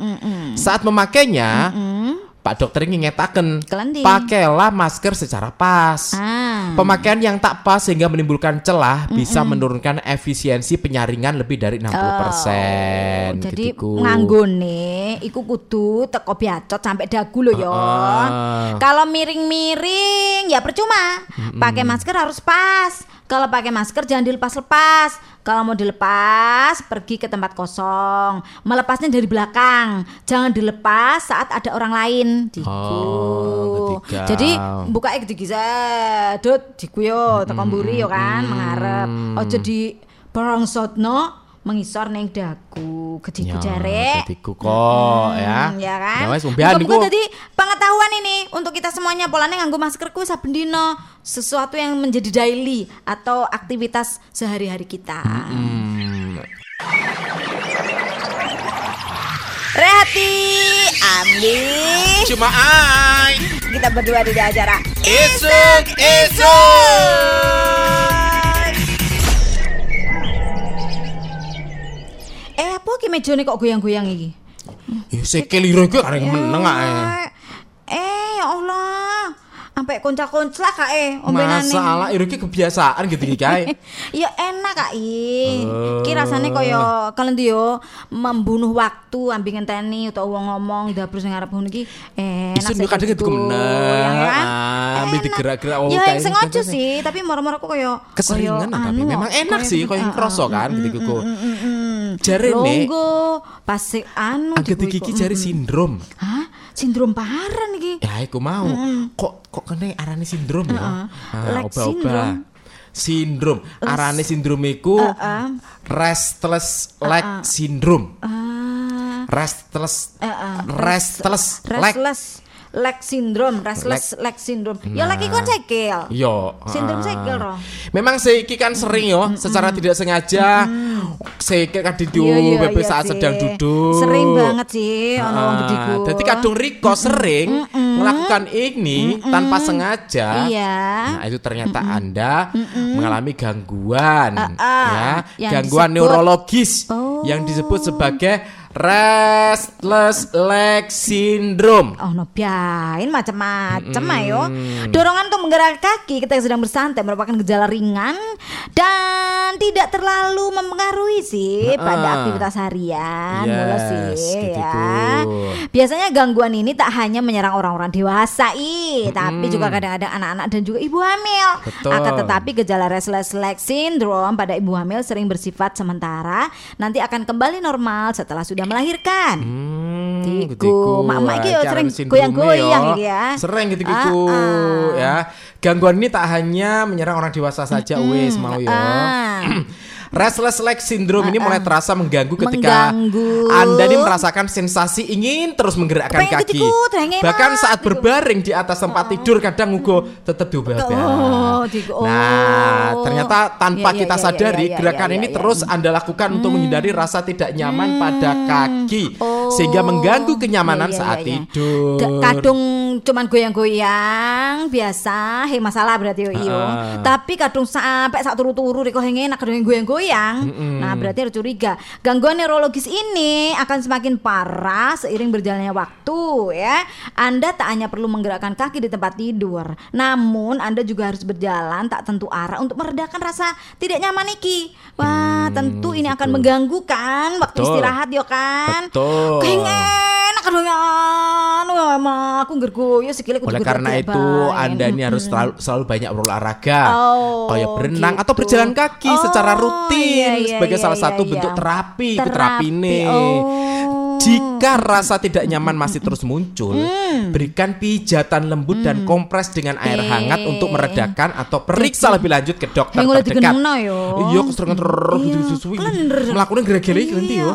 Speaker 2: Saat memakainya, Pak dokter ini ngetaken,
Speaker 1: Kelending.
Speaker 2: pakailah masker secara pas.
Speaker 1: Ah.
Speaker 2: Pemakaian yang tak pas sehingga menimbulkan celah bisa
Speaker 1: Hmm.
Speaker 2: menurunkan efisiensi penyaringan lebih dari 60%.
Speaker 1: Oh, Jadi
Speaker 2: gitu, Ku.
Speaker 1: nganggone iku kudu teko biacot sampai dagu lho yo.
Speaker 2: Heeh.
Speaker 1: Kalau miring-miring ya percuma. Pakai masker harus pas. Kalau pakai masker jangan dilepas-lepas. Kalau mau dilepas, pergi ke tempat kosong. Melepasnya dari belakang. Jangan dilepas saat ada orang lain. Diku.
Speaker 2: Oh, ketika.
Speaker 1: Jadi buka iki digisah, dut diku yo teko
Speaker 2: Hmm,
Speaker 1: mburi yo kan mengarep. Ojo di barongsotno mengisor ning dagu gediku
Speaker 2: Ya,
Speaker 1: jare.
Speaker 2: dadiku kok ya.
Speaker 1: Hmm, ya kan?
Speaker 2: Ya wes mbiyen
Speaker 1: Muga-muga
Speaker 2: niku.
Speaker 1: dadi pengetahuan ini untuk kita semuanya polanya nganggo masker kuwi saben dino sesuatu yang menjadi daily atau aktivitas sehari-hari kita.
Speaker 2: Hmm,
Speaker 1: Rehati, Amli,
Speaker 2: Cuma ai.
Speaker 1: kita berdua di acara
Speaker 2: Isuk Isuk
Speaker 1: Eh, apa ki mejone kok goyang-goyang iki?
Speaker 2: Ya sekeliru iki kareng
Speaker 1: Ya
Speaker 2: meneng ae.
Speaker 1: Eh, ya Allah. Sampai konca-konca kak eh ombenane.
Speaker 2: Masalah iki kebiasaan gitu iki kae.
Speaker 1: ya enak kak i
Speaker 2: Eh.
Speaker 1: ki rasane kaya kalian yo membunuh waktu ambil ngenteni atau wong ngomong dapur sing ngarep ngono iki enak
Speaker 2: Isun yo kadang
Speaker 1: gitu.
Speaker 2: gitu meneng.
Speaker 1: Ya kan?
Speaker 2: Ah, ambil
Speaker 1: Enak.
Speaker 2: digerak-gerak, oh,
Speaker 1: ya
Speaker 2: kayak
Speaker 1: yang
Speaker 2: gitu
Speaker 1: sengaja
Speaker 2: kan.
Speaker 1: sih tapi moro-moro kok kaya kaya
Speaker 2: Keseringan tapi
Speaker 1: anu, Hmm,
Speaker 2: memang enak
Speaker 1: kaya-
Speaker 2: sih kaya yang kroso kan gitu kok. Jarene
Speaker 1: longgo pasti anu
Speaker 2: anggit
Speaker 1: dibuiku.
Speaker 2: iki ki jare sindrom.
Speaker 1: Hah? Sindrom paharan iki.
Speaker 2: Ya iku mau. Kok kok kene arane sindrom ya?
Speaker 1: Heeh. Like syndrome.
Speaker 2: oba-oba. Sindrom. Arane sindrom iku restless leg syndrome.
Speaker 1: Ah,
Speaker 2: Restless
Speaker 1: Heeh.
Speaker 2: restless leg
Speaker 1: restless leg syndrome, restless leg syndrome. Ya lagi kon cekel.
Speaker 2: Yo, ah.
Speaker 1: Sindrom segel, Roh.
Speaker 2: Memang seiki kan sering yo, secara tidak sengaja seiki kan didu
Speaker 1: Iya, iya, iya
Speaker 2: bebek saat
Speaker 1: sih.
Speaker 2: sedang duduk.
Speaker 1: Sering banget sih ono Eh, wong
Speaker 2: Ah,
Speaker 1: gediku.
Speaker 2: Dadi kadung riko sering melakukan ini tanpa sengaja,
Speaker 1: Iya.
Speaker 2: nah itu ternyata Anda mengalami gangguan ya,
Speaker 1: Ah, Yang disebut-
Speaker 2: gangguan neurologis
Speaker 1: Oh.
Speaker 2: yang disebut sebagai restless leg syndrome.
Speaker 1: Oh no, biain macam-macam ayo. Dorongan untuk menggerak kaki ketika sedang bersantai merupakan gejala ringan dan tidak terlalu mempengaruhi sih
Speaker 2: Ha-ha.
Speaker 1: pada aktivitas harian. Mulu
Speaker 2: Yes,
Speaker 1: sih
Speaker 2: gitu
Speaker 1: ya.
Speaker 2: tuh.
Speaker 1: Biasanya gangguan ini tak hanya menyerang orang-orang dewasa, i, tapi juga kadang-kadang anak-anak dan juga ibu hamil.
Speaker 2: Betul.
Speaker 1: Akan tetapi gejala restless leg syndrome pada ibu hamil sering bersifat sementara, nanti akan kembali normal setelah sudah melahirkan.
Speaker 2: Hmm,
Speaker 1: Tiku.
Speaker 2: getiku.
Speaker 1: Mak-mak iki yo
Speaker 2: Iki
Speaker 1: sering
Speaker 2: arep
Speaker 1: goyang-goyang
Speaker 2: sindrome
Speaker 1: iki ya.
Speaker 2: Sering gitu-gitu
Speaker 1: Ah, ah.
Speaker 2: ya. Gangguan ini tak hanya menyerang orang dewasa saja wis mau yo.
Speaker 1: Ah.
Speaker 2: Restless leg syndrome ini mulai terasa mengganggu ketika
Speaker 1: Mengganggu.
Speaker 2: Anda ini merasakan sensasi ingin terus menggerakkan
Speaker 1: Pengen
Speaker 2: kaki.
Speaker 1: ketikut, pengen
Speaker 2: Bahkan
Speaker 1: enak,
Speaker 2: saat berbaring di atas tempat tidur kadang ugo tetap diubah
Speaker 1: Oh, digo- oh.
Speaker 2: Nah, ternyata
Speaker 1: Iya,
Speaker 2: tanpa
Speaker 1: iya,
Speaker 2: kita
Speaker 1: iya,
Speaker 2: sadari
Speaker 1: iya, iya,
Speaker 2: gerakan
Speaker 1: iya,
Speaker 2: ini
Speaker 1: iya. Hmm.
Speaker 2: terus Anda lakukan untuk menghindari rasa tidak nyaman pada kaki
Speaker 1: Oh.
Speaker 2: sehingga mengganggu kenyamanan
Speaker 1: Iya, iya,
Speaker 2: saat
Speaker 1: iya, iya.
Speaker 2: tidur.
Speaker 1: Da- kadung cuman goyang-goyang biasa, he masalah berarti yo. iyo.
Speaker 2: Ah.
Speaker 1: Tapi kadung sampai saat turu-turu riko henge enak kadung yang goyang-goyang. Nah, berarti harus curiga. Gangguan neurologis ini akan semakin parah seiring berjalannya waktu ya. Anda tak hanya perlu menggerakkan kaki di tempat tidur, namun Anda juga harus berjalan tak tentu arah untuk meredakan rasa tidak nyaman iki. Wah, tentu ini akan mengganggu kan waktu
Speaker 2: Hmm, Betul.
Speaker 1: istirahat yo kan.
Speaker 2: Betul.
Speaker 1: Pengen aduh ya anu emang aku ngergoyo sikile kudu
Speaker 2: Oleh karena itu Anda
Speaker 1: Hmm.
Speaker 2: ini harus selalu, selalu banyak berolahraga
Speaker 1: Oh,
Speaker 2: Kayak berenang
Speaker 1: gitu.
Speaker 2: atau berjalan kaki
Speaker 1: Oh,
Speaker 2: secara rutin
Speaker 1: iya, iya,
Speaker 2: Sebagai
Speaker 1: iya,
Speaker 2: salah
Speaker 1: iya,
Speaker 2: satu
Speaker 1: iya.
Speaker 2: bentuk terapi Iku
Speaker 1: Terapi,
Speaker 2: Terapi nih
Speaker 1: oh.
Speaker 2: Jika rasa tidak nyaman masih terus muncul
Speaker 1: Mm.
Speaker 2: Berikan pijatan lembut dan kompres dengan air
Speaker 1: Eh.
Speaker 2: hangat Untuk meredakan atau
Speaker 1: Gitu.
Speaker 2: periksa lebih lanjut ke dokter
Speaker 1: Yang udah
Speaker 2: terdekat
Speaker 1: digenengno yo.
Speaker 2: Iya, aku sering terus
Speaker 1: Iya,
Speaker 2: disusuin.
Speaker 1: klener.
Speaker 2: gitu. Melakukan gara-gara ini nanti yo
Speaker 1: Iya,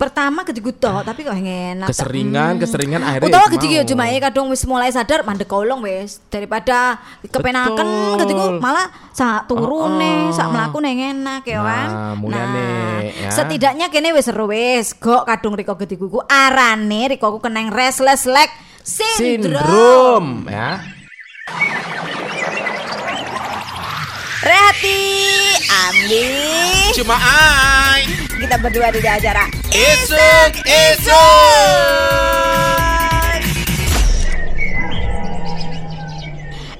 Speaker 1: Pertama ketiga tok, tapi kok enak. Hmm.
Speaker 2: Keseringan, keseringan akhirnya
Speaker 1: Utawa
Speaker 2: ya
Speaker 1: gede ya
Speaker 2: mau.
Speaker 1: cuma ya kadung wis mulai sadar mandek kolong wis daripada kepenaken
Speaker 2: Betul.
Speaker 1: ketiku malah sak turune
Speaker 2: Oh, oh.
Speaker 1: sak mlaku neng enak ya kan.
Speaker 2: Nah, mulyane, ya.
Speaker 1: setidaknya kene wis seru wis gok kadung riko gediku ku arane riko ku keneng restless leg syndrome.
Speaker 2: Sindrom ya.
Speaker 1: Rehati, Ami,
Speaker 2: Cuma ai
Speaker 1: kita berdua di acara.
Speaker 2: Esok Esok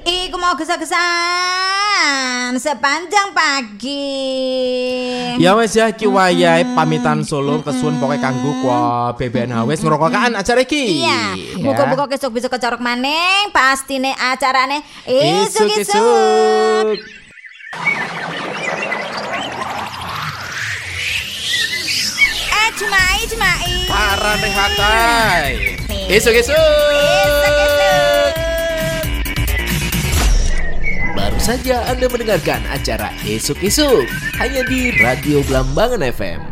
Speaker 1: Iku mau gesa-gesaan sepanjang pagi.
Speaker 2: Ya wes ya iki wayahe pamitan Solo kesuwun pokoke kanggo kwa BBNH wis ngrokokan acara iki.
Speaker 1: Iya,
Speaker 2: Ya.
Speaker 1: muka-muka besok besok kecorok maning, pasti nih acarane isuk
Speaker 2: Esuk
Speaker 1: isuk.
Speaker 2: esuk.
Speaker 1: Eh cumai cumai.
Speaker 2: Parane hatai. Esuk esuk. Baru saja Anda mendengarkan acara Esok Esok hanya di Radio Blambangan FM.